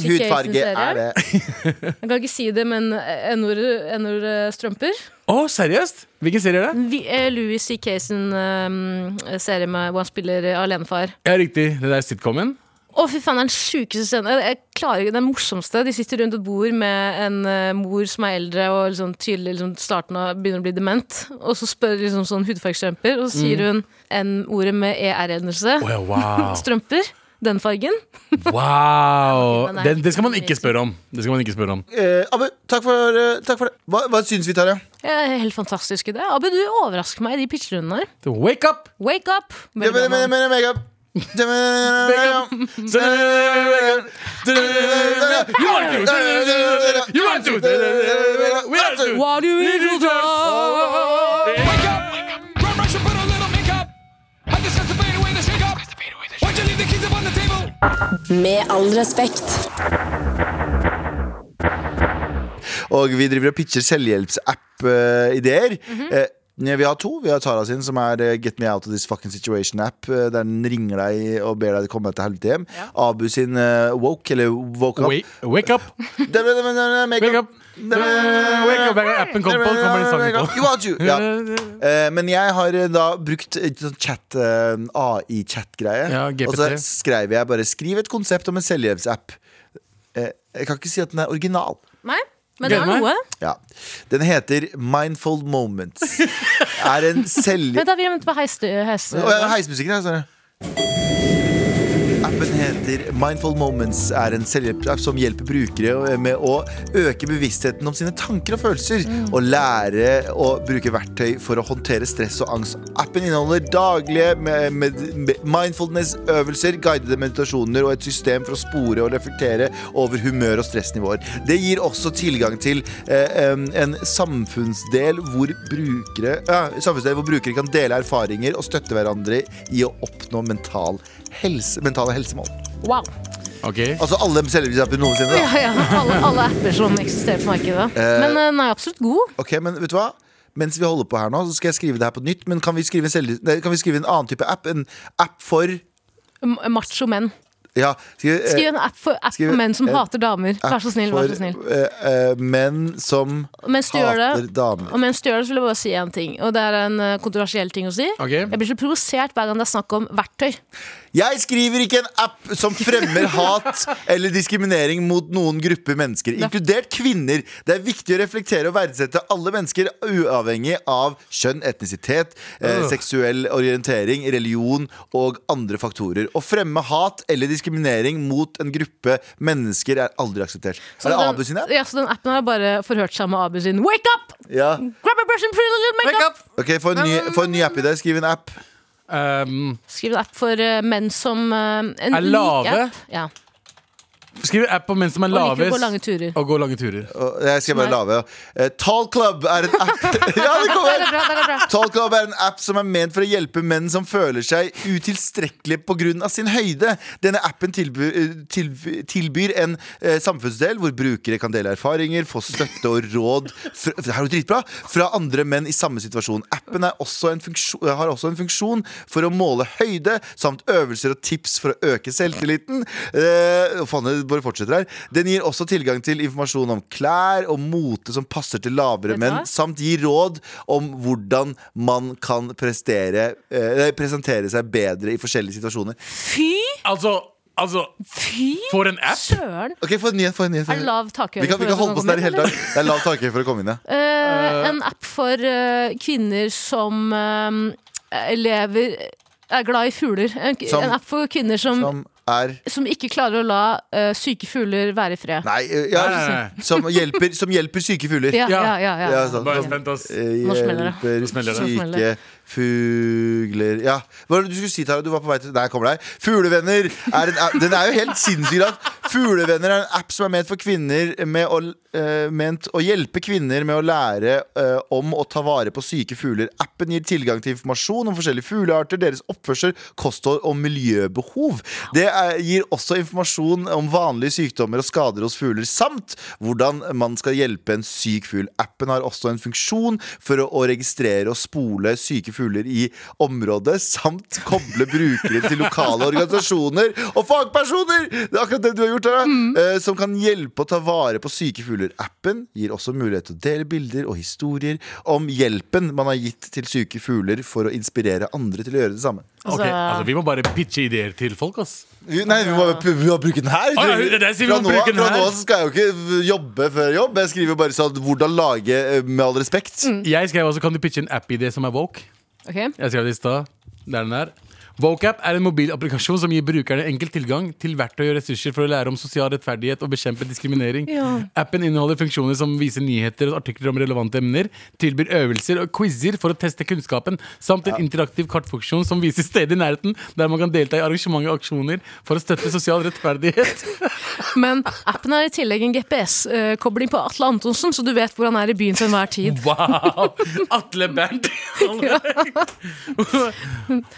Speaker 4: Louis CK sin
Speaker 3: hudfarge
Speaker 4: serie?
Speaker 3: er det?
Speaker 4: Jeg kan ikke si det, men eh, N-ord-strømper.
Speaker 2: Å, seriøst? Hvilken serie er det?
Speaker 4: eh, Louis C.K. sin um, serie med hvor han spiller alenefar.
Speaker 2: Ja, riktig. Det der sitcomen?
Speaker 4: Å, fy faen, det er den sjukeste scenen. Jeg klarer ikke, Den morsomste. De sitter rundt et bord med en eh, mor som er eldre og liksom tydelig liksom starten av begynner å bli dement. Og så spør liksom sånn hudfargestrømper, og så sier hun N-ordet med ER-endelse.
Speaker 2: Mm. Å ja,
Speaker 4: *laughs*
Speaker 2: wow.
Speaker 4: Strømper. Den fargen.
Speaker 2: Wow!
Speaker 4: men det er
Speaker 2: Det, det skal man ikke spørre om. Det skal man ikke spørre om.
Speaker 3: Eh, Abu, takk for, eh, takk for det. Hva, hva syns vi, Tarjei?
Speaker 4: Eh, Helt fantastisk idé. Abu, du overrasker meg i de pitcherundene her.
Speaker 2: Så Wake up!
Speaker 4: Wake up!
Speaker 3: Det
Speaker 4: Veldig
Speaker 3: mener-
Speaker 4: bra
Speaker 3: mener-
Speaker 4: navn.
Speaker 3: mener makeup. Det mener-
Speaker 2: Makeup. You want to! You want to! We are to!
Speaker 4: What do we do now?
Speaker 6: Wake up! Grab brush and put a little makeup. I just have to fade away the shake up. Why'd you leave the keys up on the table?
Speaker 7: Med all respekt.
Speaker 3: Og vi driver og pitcher selvhjelpsapp-ideer. Eh, vi har to. Vi har Tara sin, som er eh, Get Me Out of This Fucking Situation-app. eh, der den ringer deg og ber deg komme deg til helvete hjem. Abu sin eh, Woke, eller Woke Up. *laughs*
Speaker 2: Wake, wake up!
Speaker 3: Det- det- det- det- det- make
Speaker 2: Wake up!
Speaker 3: Det- det- det-
Speaker 2: Wake up! Appen kom på, kommer den sangen
Speaker 3: You
Speaker 2: på.
Speaker 3: want you. Ja.
Speaker 2: *laughs*
Speaker 3: Eh, Men jeg har eh, da brukt eh, sånn chat eh, AI-chat-greie.
Speaker 2: Ja, GPT.
Speaker 3: og så skrev jeg bare 'skriv et konsept om en selvhjelpsapp'. Eh, Jeg kan ikke si at den er original.
Speaker 4: Nei, men det
Speaker 2: Gleder
Speaker 4: var
Speaker 2: meg.
Speaker 4: noe.
Speaker 3: Ja. Den heter Mindful Moments. Er
Speaker 4: *laughs*
Speaker 3: en selv...
Speaker 4: Vent da, vi er vente på heiste. heiste.
Speaker 3: Å, ja, heismusikken her, sorry. Appen heter Mindful Moments er en selvhjelpsapp som hjelper brukere med å øke bevisstheten om sine tanker og følelser, og lære å bruke verktøy for å håndtere stress og angst. Appen inneholder daglige med, med, med mindfulness-øvelser, guidede meditasjoner og et system for å spore og reflektere over humør og stressnivåer. Det gir også tilgang til eh, em, en samfunnsdel hvor brukere, ja, samfunnsdel hvor brukere kan dele erfaringer og støtte hverandre i å oppnå mental helse, mentale helsemål.
Speaker 4: Wow.
Speaker 2: Ok,
Speaker 3: Altså alle selvhjelpsapper noensinne.
Speaker 4: Ja,
Speaker 3: Da.
Speaker 4: *laughs* ja, alle, alle apper som eksisterer på markedet. Men eh, den er absolutt god.
Speaker 3: Ok, men vet du hva? Mens vi holder på her nå, så skal jeg skrive det her på nytt. Men kan vi skrive en, selvhjelps- nei, kan vi skrive en annen type app? En app for
Speaker 4: M- Macho menn.
Speaker 3: ja, skrive, eh,
Speaker 4: Skriv en app for, app
Speaker 3: skriv
Speaker 4: for menn som
Speaker 3: en
Speaker 4: hater damer. Vær så snill. vær
Speaker 3: for,
Speaker 4: så snill
Speaker 3: eh, eh, menn som
Speaker 4: Mens du gjør
Speaker 3: hater
Speaker 4: det,
Speaker 3: damer.
Speaker 4: og mens du gjør det, så vil jeg bare si én ting. Og det er en eh, kontroversiell ting å si.
Speaker 2: Ok.
Speaker 4: Jeg blir så provosert hver gang det er snakk om verktøy.
Speaker 3: Jeg skriver ikke en app som fremmer hat eller diskriminering mot noen grupper mennesker, inkludert kvinner. Det er viktig å reflektere og verdsette alle mennesker, uavhengig av kjønn, etnisitet, eh,
Speaker 2: Øh.
Speaker 3: seksuell orientering, religion og andre faktorer. Å fremme hat eller diskriminering mot en gruppe mennesker er aldri akseptert. Er det
Speaker 4: den-
Speaker 3: Abu sin app?
Speaker 4: Ja, så den appen har bare forhørt seg med Abu sin. Wake up!
Speaker 3: Ja.
Speaker 4: Grab a brush and put a little makeup!
Speaker 3: Ok, Få en, ny- få en ny app i det. Skriv en app.
Speaker 2: um,
Speaker 4: Skriv en app for eh, menn som eh, en
Speaker 2: Er
Speaker 4: unik
Speaker 2: lave.
Speaker 4: app. Ja.
Speaker 2: Skriv app om menn som er
Speaker 4: Og liker å gå lange
Speaker 2: lavest,
Speaker 4: turer.
Speaker 2: og gå lange turer.
Speaker 3: Og Jeg skal bare lave. Eh, Tall Club er en app *laughs* Ja, det kommer!
Speaker 4: Det er bra, det er bra.
Speaker 3: *laughs* Tall Club er en app som er ment for å hjelpe menn som føler seg utilstrekkelige pga. sin høyde. Denne appen tilbyr, tilbyr, tilbyr en eh, samfunnsdel hvor brukere kan dele erfaringer, få støtte og råd fra, det her er jo dritbra, fra andre menn i samme situasjon. Appen er også en funksjon, har også en funksjon for å måle høyde samt øvelser og tips for å øke selvtilliten. Eh, faen, bare fortsetter her. Den gir også tilgang til informasjon om klær og mote som passer til lavere
Speaker 4: Vet du
Speaker 3: menn,
Speaker 4: hva?
Speaker 3: samt gir råd om hvordan man kan prestere, eh, eller presentere seg bedre i forskjellige situasjoner.
Speaker 4: Fy!
Speaker 2: Altså, altså
Speaker 4: Fy!
Speaker 2: For en app!
Speaker 4: Søren!
Speaker 3: Ok, Få en ny en. få en ny en, få
Speaker 4: Er det
Speaker 3: en ny en.
Speaker 4: lav takhøyde?
Speaker 3: Vi kan, vi kan holde på sånn her i hele dag. Det er lav takhøyde for å komme inn, ja.
Speaker 4: Eh, en app for eh, kvinner som eh, lever er glad i fugler. En,
Speaker 3: Som-
Speaker 4: en app for kvinner som, som,
Speaker 3: Som er
Speaker 4: ikke klarer å la eh, syke fugler være i fred.
Speaker 3: Nei, eh, ja,
Speaker 2: Nei, nei, nei.
Speaker 3: Som, hjelper, som hjelper syke fugler.
Speaker 4: Ja, ja,
Speaker 2: Ja.
Speaker 4: ja, ja.
Speaker 3: Ja, sant.
Speaker 2: Bare spent oss.
Speaker 3: Eh,
Speaker 4: Nå smeller det.
Speaker 3: Hjelper
Speaker 2: Nå smeller det.
Speaker 3: syke
Speaker 4: smeller
Speaker 3: fugler Ja, hva var det du skulle si, Tara? Du var på vei til Der kommer deg. Fuglevenner! Er en app, den er jo helt sinnssyk. at Fuglevenner er en app som er ment for kvinner med å, eh, ment å hjelpe kvinner med å lære eh, om å ta vare på syke fugler. Appen gir tilgang til informasjon om forskjellige fuglearter, deres oppførsel, kosthold og miljøbehov. Det er, gir også informasjon om vanlige sykdommer og skader hos fugler, samt hvordan man skal hjelpe en syk fugl. Appen har også en funksjon for å, å registrere og spole syke fugler i området, samt koble brukere til lokale organisasjoner og fagpersoner! Det er akkurat det du har gjort, Tara! eh, Som kan hjelpe å ta vare på syke fugler. Appen gir også mulighet til å dele bilder og historier om hjelpen man har gitt til syke fugler for å inspirere andre til å gjøre det samme.
Speaker 2: Ok, altså, vi må bare pitche ideer til folk, ass.
Speaker 3: Nei, vi må, vi må bruke den her.
Speaker 2: Å, ja, det er det jeg sier, vi
Speaker 3: fra
Speaker 2: må
Speaker 3: nå av
Speaker 2: bruke den
Speaker 3: fra nå
Speaker 2: her.
Speaker 3: av så skal jeg jo ikke jobbe før jobb. Jeg skriver bare sånn 'hvordan lage eh, med all respekt'.
Speaker 2: Jeg skrev også Kan du pitche en app-idé som er woke?
Speaker 4: Ok.
Speaker 2: Jeg skrev det i stad. Det er den der. Vocap er en mobilapplikasjon som gir brukerne enkel tilgang til verktøy og ressurser for å lære om sosial rettferdighet og bekjempe diskriminering. Appen inneholder funksjoner som viser nyheter og artikler om relevante emner, tilbyr øvelser og quizer for å teste kunnskapen, samt en interaktiv kartfunksjon som viser steder i nærheten der man kan delta i arrangementer og aksjoner for å støtte sosial rettferdighet.
Speaker 4: Men appen er i tillegg en GPS-kobling på Atle Antonsen, så du vet hvor han er i byen til enhver
Speaker 2: *laughs*
Speaker 4: tid.
Speaker 2: Wow! Atle Bernt! *laughs*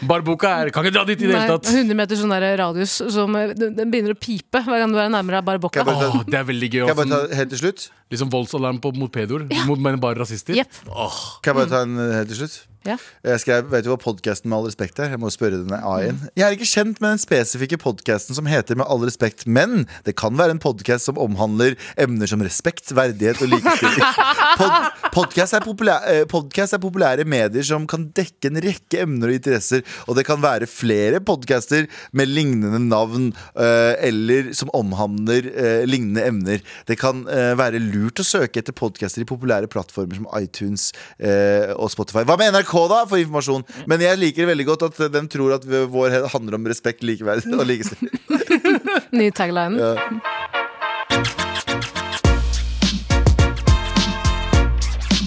Speaker 2: Barboka er Kan ikke dra dit i det
Speaker 4: Nei,
Speaker 2: hele tatt.
Speaker 4: 100 meter sånn der radius som eh, den den begynner å pipe hver gang du er nærmere Barboka.
Speaker 3: Kan jeg bare
Speaker 2: Åh, det er veldig gøy.
Speaker 3: Kan jeg bare
Speaker 2: også.
Speaker 3: ta helt til slutt?
Speaker 2: Liksom voldsalarm på, mot pedoer, mot- men bare rasister.
Speaker 4: Jepp.
Speaker 3: Kan jeg bare ta en eh, helt til slutt?
Speaker 4: Ja.
Speaker 3: Jeg skrev, vet du hva podcasten med all respekt er? Jeg må spørre denne AI-en. Jeg er ikke kjent med den spesifikke podcasten som heter Med all respekt, men det kan være en podcast som omhandler emner som respekt, verdighet og likestilling. Pod podcast, er populær, eh, podcast er populære medier som kan dekke en rekke emner og interesser, og det kan være flere podcaster med lignende navn eh, eller som omhandler eh, lignende emner. Det kan eh, være lurt å søke etter podcaster i populære plattformer som iTunes eh, og Spotify. Hva med NRK, da, for informasjon? Men jeg liker veldig godt at eh, den tror at vår he- handler om respekt, likeverd og likestilling.
Speaker 4: Ny tagline.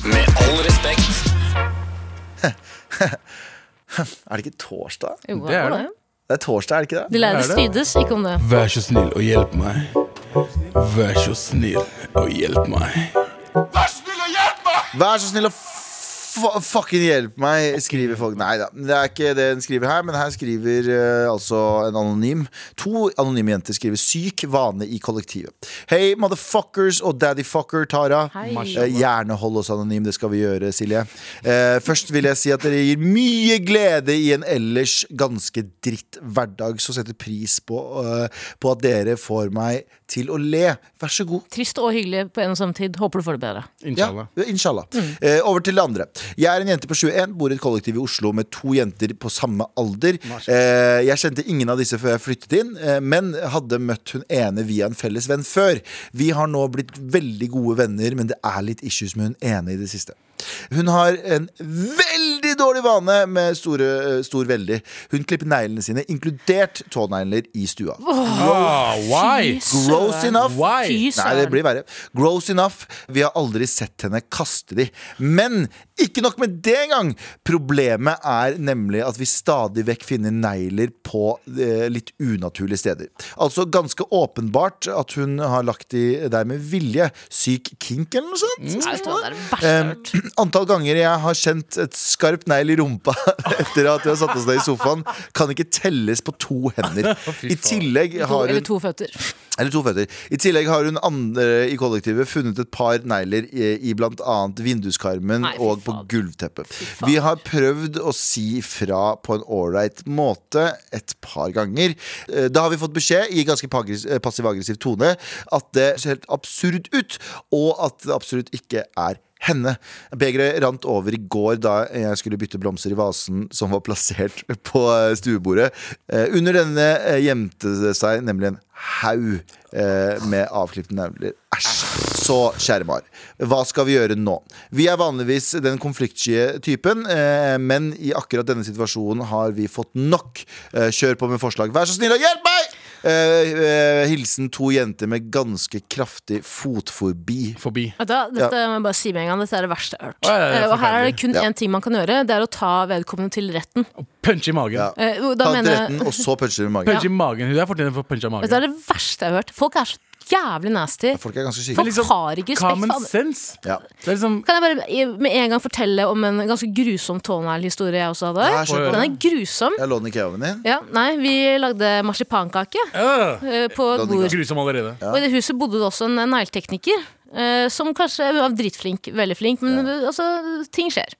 Speaker 8: Med all respekt.
Speaker 3: Er det ikke torsdag?
Speaker 4: Jo,
Speaker 2: Det er
Speaker 4: var
Speaker 2: det.
Speaker 3: Det er torsdag, er det ikke det?
Speaker 4: De lærde
Speaker 2: Det er det.
Speaker 4: strides, ikke om det.
Speaker 9: Vær så snill og hjelp meg. Vær så snill og hjelp meg.
Speaker 3: Vær så snill og f- fucking hjelp meg, skriver folk. Nei da, det er ikke det hun skriver her, men her skriver eh, altså en anonym. To anonyme jenter skriver 'syk vane i kollektivet'. Hei, motherfuckers og daddyfucker, Tara.
Speaker 4: Hei.
Speaker 3: Eh, Gjerne hold oss anonym, det skal vi gjøre, Silje. Eh, først vil jeg si at dere gir mye glede i en ellers ganske dritt hverdag, så setter pris på, eh, på at dere får meg til å le. Vær så god.
Speaker 4: Trist og hyggelig på en og samme tid. Håper du får det bedre.
Speaker 2: Inshallah.
Speaker 3: Ja, inshallah. Eh, over til det andre. Jeg er en jente på 21, bor i et kollektiv i Oslo med to jenter på samme alder. Eh, jeg kjente ingen av disse før jeg flyttet inn, eh, men hadde møtt hun ene via en felles venn før. Vi har nå blitt veldig gode venner, men det er litt issues med hun ene i det siste. Hun har en veldig dårlig vane med store, eh, stor veldig. Hun klipper neglene sine, inkludert tånegler, i stua.
Speaker 2: Ah, why?
Speaker 3: Gross enough.
Speaker 2: Why?
Speaker 4: Fy
Speaker 3: Nei, det
Speaker 4: søren.
Speaker 3: blir verre. Gross enough. Vi har aldri sett henne kaste de. Men ikke nok med det engang! Problemet er nemlig at vi stadig vekk finner negler på eh, litt unaturlige steder. Altså ganske åpenbart at hun har lagt de der med vilje. Syk kink eller noe sånt?
Speaker 4: Nei, vet du hva, det er det verste jeg har
Speaker 3: Um,
Speaker 4: hørt.
Speaker 3: *clears throat* antall ganger jeg har kjent et skarpt negl i rumpa *laughs* etter at vi har satt oss
Speaker 4: *laughs*
Speaker 3: ned i sofaen, kan ikke telles på to hender. I tillegg
Speaker 4: To
Speaker 3: har
Speaker 4: eller
Speaker 3: hun
Speaker 4: to føtter.
Speaker 3: Eller to føtter. I tillegg har hun andre i kollektivet funnet et par negler i, i blant annet vinduskarmen
Speaker 4: Nei, fy
Speaker 3: og på
Speaker 4: fader.
Speaker 3: gulvteppet.
Speaker 4: fader.
Speaker 3: Vi har prøvd å si fra på en ålreit måte et par ganger. Eh, Da har vi fått beskjed i ganske pagres- eh, passiv-aggressiv tone at det ser helt absurd ut, og at det absolutt ikke er henne. Begeret rant over i går da jeg skulle bytte blomster i vasen som var plassert på eh, stuebordet. Eh, Under denne eh, gjemte det seg nemlig en haug eh, med avklipte negler. Æsj. Så, kjære Mar, hva skal vi gjøre nå? Vi er vanligvis den konfliktsky typen, eh, men i akkurat denne situasjonen har vi fått nok. Eh, kjør på med forslag. Vær så snill og hjelp meg! Eh, eh, hilsen to jenter med ganske kraftig fotforbi.
Speaker 2: Forbi.
Speaker 4: Vet du hva, dette må jeg bare si med en gang Dette er det verste jeg har
Speaker 2: Å,
Speaker 4: hørt.
Speaker 2: ja, det er
Speaker 4: Eh, og her er det
Speaker 2: forferdelig.
Speaker 4: kun
Speaker 3: Ja.
Speaker 4: én ting man kan gjøre. Det er å ta vedkommende til retten.
Speaker 2: Punch i magen.
Speaker 3: Ja.
Speaker 4: Eh, og da
Speaker 3: Ta til
Speaker 4: mener
Speaker 3: retten,
Speaker 4: jeg
Speaker 3: og så puncher du i magen.
Speaker 2: Punch i magen. Hun er fortjent for punch i magen.
Speaker 4: Dette er det verste jeg har hørt. Folk er så jævlig nasty.
Speaker 3: Folk er ganske syke.
Speaker 4: Folk
Speaker 2: liksom,
Speaker 4: har ikke respekt
Speaker 2: Common
Speaker 4: for andre.
Speaker 2: sense.
Speaker 3: Ja.
Speaker 2: Det er liksom
Speaker 4: Kan jeg bare i- med en gang fortelle om en ganske grusom tåneglhistorie jeg også hadde?
Speaker 3: Ja, kjør på.
Speaker 4: Den er grusom.
Speaker 3: Jeg låner kebabene din.
Speaker 4: Ja, nei, vi lagde marsipankake
Speaker 2: øh,
Speaker 4: eh, på et
Speaker 3: den
Speaker 4: bord.
Speaker 2: Grusom allerede.
Speaker 4: Og i det huset bodde det også en negletekniker. eh, som kanskje hun var dritflink, veldig flink, men eh, altså, ting skjer.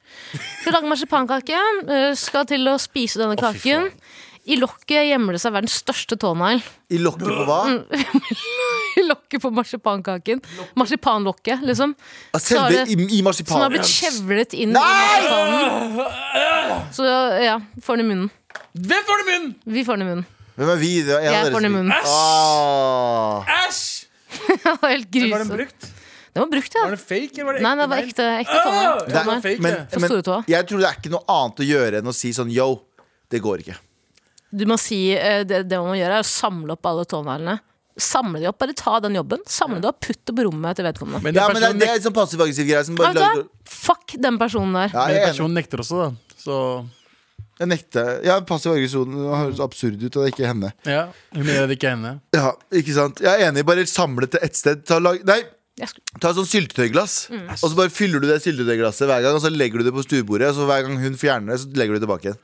Speaker 4: Skal lage marsipankake, eh, skal til å spise denne
Speaker 2: Å, fy
Speaker 4: kaken.
Speaker 2: faen.
Speaker 4: I lokket gjemmer det seg verdens største tånegl. *laughs*
Speaker 3: I lokket på hva?
Speaker 4: Mm. I lokket på marsipankaken. Marsipanlokket, liksom.
Speaker 3: Ah,
Speaker 4: Så
Speaker 3: Selve
Speaker 4: har det-
Speaker 3: i, i
Speaker 4: Som har
Speaker 3: marsipanen.
Speaker 4: blitt skjevlet inn i
Speaker 3: Nei!
Speaker 4: marsipanen. Så ja, får den i munnen.
Speaker 2: Hvem får det i munnen?
Speaker 4: Vi får den i munnen.
Speaker 3: Hvem er vi? Det er en av
Speaker 4: Jeg
Speaker 3: dere
Speaker 4: får den i
Speaker 3: som-
Speaker 4: munnen. *laughs*
Speaker 3: Ah.
Speaker 2: Æsj!
Speaker 4: Det var helt
Speaker 2: Var den
Speaker 4: grusomt.
Speaker 2: brukt?
Speaker 4: Den var brukt, ja.
Speaker 2: Var den fake, eller var det ekte?
Speaker 4: Nei, det var
Speaker 2: negl?
Speaker 4: ekte, ekte tånegl.
Speaker 2: Åh!
Speaker 3: Det er-
Speaker 2: var fake,
Speaker 3: men,
Speaker 2: det.
Speaker 4: Fra
Speaker 3: men
Speaker 4: Storetoa.
Speaker 3: jeg tror det er ikke noe annet å gjøre enn å si sånn yo, det går ikke.
Speaker 4: Du må si, eh, det, det man må gjøre er å samle opp alle tåneglene. Samle de opp, bare ta den jobben. Samle det opp, putt det på rommet til vedkommende.
Speaker 2: Men
Speaker 3: Ja,
Speaker 2: den
Speaker 3: men det,
Speaker 2: personen,
Speaker 3: det er
Speaker 2: nek
Speaker 3: en sånn passiv-aggressiv greie som bare
Speaker 4: Vet du hva?
Speaker 3: lager
Speaker 4: Fuck den personen der.
Speaker 3: ja,
Speaker 2: men den
Speaker 3: jeg, er enig.
Speaker 2: personen nekter også, da. Så
Speaker 3: jeg nekter. Ja, passiv-aggresjon høres absurd ut, og det er ikke henne.
Speaker 2: ja, hun mener det ikke er henne.
Speaker 3: Ja, ikke sant? Jeg er enig. Bare samle til ett sted. Ta, lag, nei,
Speaker 4: Jeg Mm. skulle-
Speaker 3: ta et sånt syltetøyglass, og så bare fyller du det syltetøyglasset hver gang, og så legger du det på stuebordet, og så hver gang hun fjerner det, så legger du det tilbake igjen.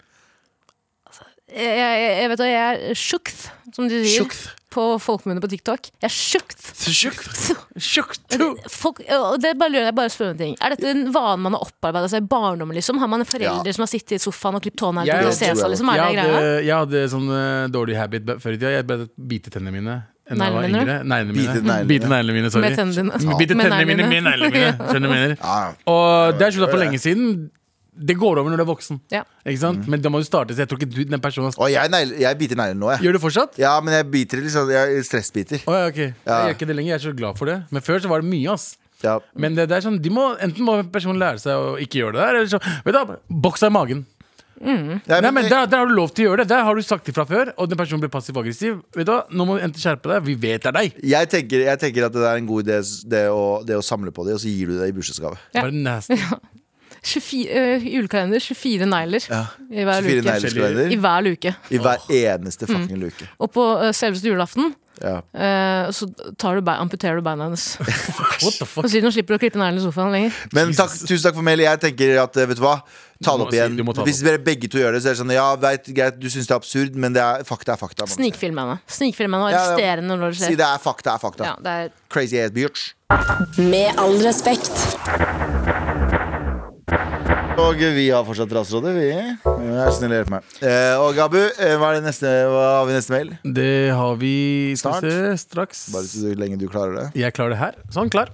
Speaker 4: Jeg, jeg, jeg vet hva, jeg er sjukth, som de sier på folkemunne på TikTok. Jeg er sjukth.
Speaker 2: Tjukt!
Speaker 4: Folk, og det bare lurer jeg bare å spørre om en ting. Er dette en vane man har opparbeida seg i barndommen? Liksom? Har man en forelder
Speaker 3: Ja.
Speaker 4: som har sittet i sofaen og klippet tånegler?
Speaker 2: Jeg-
Speaker 4: til å se
Speaker 3: tror jeg
Speaker 4: seg,
Speaker 3: det.
Speaker 4: Liksom, er det
Speaker 2: jeg,
Speaker 4: greia?
Speaker 2: hadde, jeg hadde sånn eh, dårlig habit be- før i tida. Jeg bet- bite tennene mine. enn jeg var
Speaker 4: Neglene dine?
Speaker 2: yngre. Neglene
Speaker 3: Bite
Speaker 2: mine.
Speaker 3: neglene.
Speaker 2: Bite neglene mine, sorry.
Speaker 4: Med tennene
Speaker 2: Bite
Speaker 4: dine. Med
Speaker 2: tennene mine
Speaker 4: neglene.
Speaker 2: med neglene mine.
Speaker 4: *laughs*
Speaker 2: Skjønner du hva jeg mener?
Speaker 3: Ja.
Speaker 2: Og det er slutta for lenge siden. Det går over når du er voksen.
Speaker 4: Ja.
Speaker 2: Ikke sant? Men da må du starte. Så jeg tror ikke du, den personen
Speaker 3: Og jeg, negler- jeg biter neglen nå, jeg.
Speaker 2: Gjør du fortsatt?
Speaker 3: Ja, men jeg biter liksom. Jeg stressbiter.
Speaker 2: Å, ja, ok. Jeg gjør ikke det lenger. Jeg er så glad for det. Men før så var det mye, ass.
Speaker 3: Ja.
Speaker 2: Men det, det er sånn, de må, enten må personen lære seg å ikke gjøre det der, eller så Vet du, hva, boks deg i magen.
Speaker 3: Nei,
Speaker 2: Nei, men der, der har du lov til å gjøre det. Der har du sagt ifra før, og den personen blir passiv-aggressiv. Vet du, hva, Nå må du enten skjerpe deg. Vi vet det er deg.
Speaker 3: Jeg tenker, jeg tenker at det er en god idé s- det å, det å samle på dem, og så gir du det i bursdagsgave.
Speaker 4: Ja.
Speaker 2: Bare
Speaker 4: *laughs*
Speaker 2: nasty.
Speaker 4: 24, øh, julekalender, 24 negler i hver
Speaker 3: 24
Speaker 4: luke. I
Speaker 3: negleskaleier
Speaker 4: hver Mm. luke.
Speaker 3: i hver eneste fucking luke.
Speaker 4: Og på øh, selveste julaften
Speaker 3: Ja.
Speaker 4: øh, så tar du bein, amputerer du beina hennes.
Speaker 2: What the fuck?
Speaker 4: Og siden hun slipper å klippe neglen i sofaen lenger.
Speaker 3: Men takk, tusen takk for mail. Jeg tenker at eh, vet du hva,
Speaker 2: Du
Speaker 3: ta det
Speaker 2: må
Speaker 3: opp
Speaker 2: si-
Speaker 3: igjen.
Speaker 2: du må ta det
Speaker 3: Hvis dere begge to gjør det, så er det sånn ja, vet, greit, du syns det er absurd, men det er fakta er fakta. man.
Speaker 4: Snikfilm henne. Snikfilm henne og
Speaker 3: Ja, ja.
Speaker 4: arrestere henne når det
Speaker 3: Si
Speaker 4: skjer.
Speaker 3: det er fakta er fakta.
Speaker 4: Ja, det er
Speaker 3: Crazy ass bitch.
Speaker 7: Med all respekt.
Speaker 3: Og vi har fortsatt Raserådet, vi. Vær så snill å hjelpe meg. Eh, og Abu, eh, hva, er det neste, hva har vi neste mail?
Speaker 2: Det har vi Skal vi se, straks.
Speaker 3: Bare så lenge du klarer det.
Speaker 2: Jeg klarer det her. Sånn, klar.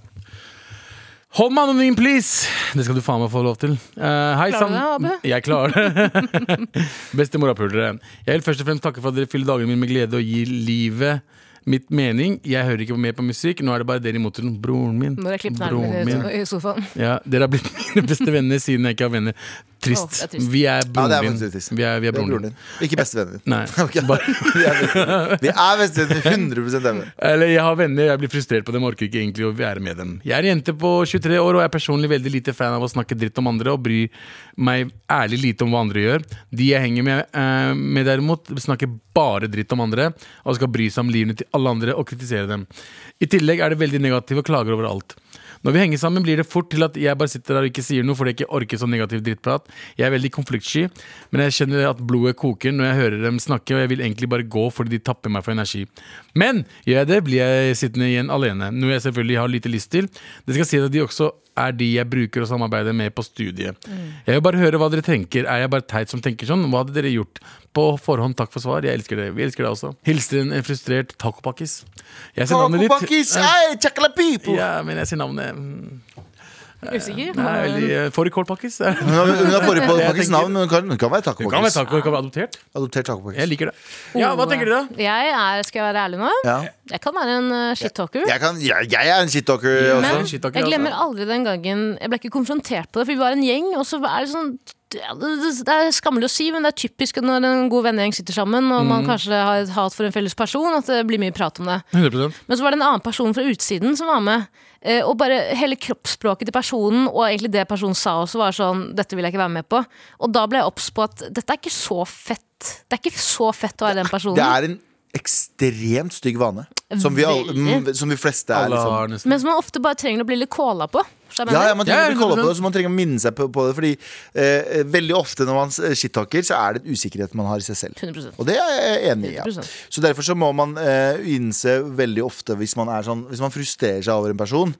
Speaker 2: Hold meg anonym, please! Det skal du faen meg få lov til. Eh, hei,
Speaker 4: Klarer
Speaker 2: sam-
Speaker 4: du det, Abu?
Speaker 2: Jeg klarer det.
Speaker 4: *laughs*
Speaker 2: Beste morapulere. Jeg vil først og fremst takke for at dere fyller dagene mine med glede og gir livet mitt mening. Jeg hører ikke mer på musikk. Nå er det bare dere i motoren. Broren min.
Speaker 4: når jeg klipper
Speaker 2: Broren
Speaker 4: neglen
Speaker 2: min.
Speaker 4: min i sofaen.
Speaker 2: Ja, dere har blitt *laughs* mine beste venner siden jeg ikke har venner. Trist.
Speaker 4: Åh, det er trist.
Speaker 2: Vi er
Speaker 3: Ja,
Speaker 2: broren
Speaker 3: det er
Speaker 2: din.
Speaker 3: faktisk trist.
Speaker 2: Vi er, vi er
Speaker 3: Det er
Speaker 2: broren
Speaker 3: broren
Speaker 2: din.
Speaker 3: din. Ikke bestevennen din.
Speaker 2: *laughs* Nei.
Speaker 3: *laughs* Ok.
Speaker 2: Bare,
Speaker 3: Vi er bestevenner. Vi er bestevenner 100
Speaker 2: *laughs*
Speaker 3: evne.
Speaker 2: Eller jeg har venner, jeg blir frustrert på dem, orker ikke egentlig å være med dem. Jeg er jente på 23 år og er personlig veldig lite fan av å snakke dritt om andre og bryr meg ærlig lite om hva andre gjør. De jeg henger med, eh, med derimot, snakker bare dritt om andre og skal bry seg om livene til alle andre og kritisere dem. I tillegg er det veldig negative og klager over alt. Når vi henger sammen, blir det fort til at jeg bare sitter der og ikke sier noe fordi jeg ikke orker sånn negativ drittprat. Jeg er veldig konfliktsky, men jeg kjenner at blodet koker når jeg hører dem snakke, og jeg vil egentlig bare gå fordi de tapper meg for energi. Men gjør jeg det, blir jeg sittende igjen alene, noe jeg selvfølgelig har lite lyst til. Det skal sies at de også er de jeg bruker å samarbeide med på studiet. Jeg vil bare høre hva dere tenker. Er jeg bare teit som tenker sånn? Hva hadde dere gjort? På forhånd, takk for svar. Jeg elsker dere. Vi elsker deg også. Hilser en en frustrert tacopakkis. Jeg ser navnet ditt.
Speaker 3: Pakis, ei, chakla pipo.
Speaker 2: Ja, men jeg ser navnet mm,
Speaker 4: Usikker?
Speaker 2: Nei, veldig eh, Fårikålpakkis.
Speaker 3: Hun
Speaker 2: *laughs* Det
Speaker 3: har, hun har forrige pakkis
Speaker 2: tenker-
Speaker 3: navn, men hun kan, hun kan være
Speaker 2: kan være
Speaker 3: tacopakkis.
Speaker 2: taco, det kan være adoptert.
Speaker 3: Adoptert tacopakkis.
Speaker 2: Jeg liker det. Ja, Hva tenker dere, da?
Speaker 4: Jeg er, skal jeg være ærlig nå?
Speaker 3: Ja.
Speaker 4: Jeg kan være en eh, shit-talker.
Speaker 3: Jeg, kan, jeg, jeg er en shit-talker også.
Speaker 4: Men
Speaker 2: shit-talker,
Speaker 4: jeg glemmer
Speaker 2: altså.
Speaker 4: aldri den gangen Jeg ble ikke konfrontert på det, for vi var en gjeng. Og så er Det sånn det er skammelig å si, men det er typisk når en god vennegjeng sitter sammen, og man kanskje har et hat for en felles person, at det blir mye prat om det.
Speaker 2: 100
Speaker 4: Men så var det en annen person fra utsiden som var med. eh, Og bare hele kroppsspråket til personen og egentlig det personen sa også, var sånn Dette vil jeg ikke være med på. Og da ble jeg obs på at dette er ikke så fett. Det er ikke så fett å være den personen.
Speaker 3: Det er en ekstremt stygg vane. Som vi, alle-
Speaker 4: Veldig.
Speaker 3: mm, som vi fleste er.
Speaker 2: Alle
Speaker 3: Liksom.
Speaker 2: har nesten
Speaker 4: Men som man ofte bare trenger å bli litt kåla på. Så jeg mener,
Speaker 3: Ja, ja, man trenger
Speaker 2: Ja,
Speaker 3: å bli kåla på
Speaker 2: 100%.
Speaker 3: det, så man trenger å minne seg på, på det. Fordi eh, veldig ofte når man eh, shit-talker, så er det en usikkerhet man har i seg selv.
Speaker 4: 100%.
Speaker 3: Og det er jeg enig i. Ja.
Speaker 4: 100%.
Speaker 3: Så derfor så må man eh, innse veldig ofte hvis man, er sånn, hvis man frustrerer seg over en person,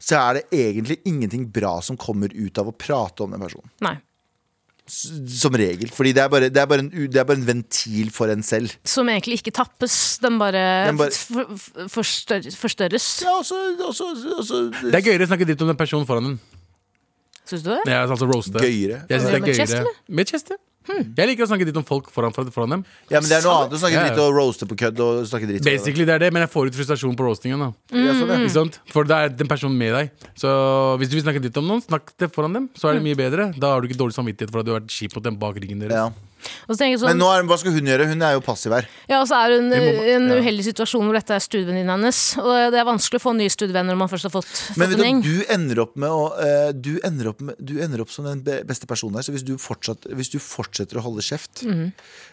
Speaker 3: så er det egentlig ingenting bra som kommer ut av å prate om den personen.
Speaker 4: Nei.
Speaker 3: S- Som regel. Fordi det er bare, det er bare, en, u- det er bare en ventil for en selv.
Speaker 4: Som egentlig ikke tappes, den bare,
Speaker 3: Den bare-
Speaker 4: f- f- forstør- forstørres.
Speaker 3: Ja, også, også, også,
Speaker 2: Det er gøyere å snakke dritt om den personen foran den.
Speaker 4: Syns du det?
Speaker 2: Jeg, altså roaste.
Speaker 3: Gøyere.
Speaker 2: Jeg synes det er
Speaker 4: Med chest,
Speaker 2: gøyere. Hmm.
Speaker 4: eller?
Speaker 2: Med chest, ja. Jeg liker å snakke dritt om folk foran, foran dem.
Speaker 3: Ja, men det er noe annet å snakke
Speaker 2: Ja, ja.
Speaker 3: dritt og roaste på kødd og snakke dritt.
Speaker 2: Basically det er det, men jeg får ut frustrasjon på roastingen. da
Speaker 3: Ja, sånn, ja.
Speaker 2: Ikke sant? For det er den personen med deg. Så hvis du vil snakke dritt om noen, snakk det foran dem. Så er det mye bedre. Da har du ikke dårlig samvittighet for at du har vært kjip mot dem bak ryggen deres.
Speaker 3: Ja.
Speaker 4: Og så tenker jeg
Speaker 3: Men
Speaker 4: sånn,
Speaker 3: nå er, hva skal hun gjøre? Hun er jo passiv her.
Speaker 4: ja, og så er hun
Speaker 2: Vi må-
Speaker 4: i en
Speaker 2: ja.
Speaker 4: uheldig situasjon hvor dette er studievenninnen hennes. Og det er vanskelig å få nye studievenner når man først har fått,
Speaker 3: Men
Speaker 4: fått
Speaker 3: vet
Speaker 4: en gjeng.
Speaker 3: du, du ender opp med å eh, du, ender opp med, du ender opp som den be- beste personen her. Så hvis du, fortsatt, hvis du fortsetter å holde kjeft
Speaker 4: Mhm.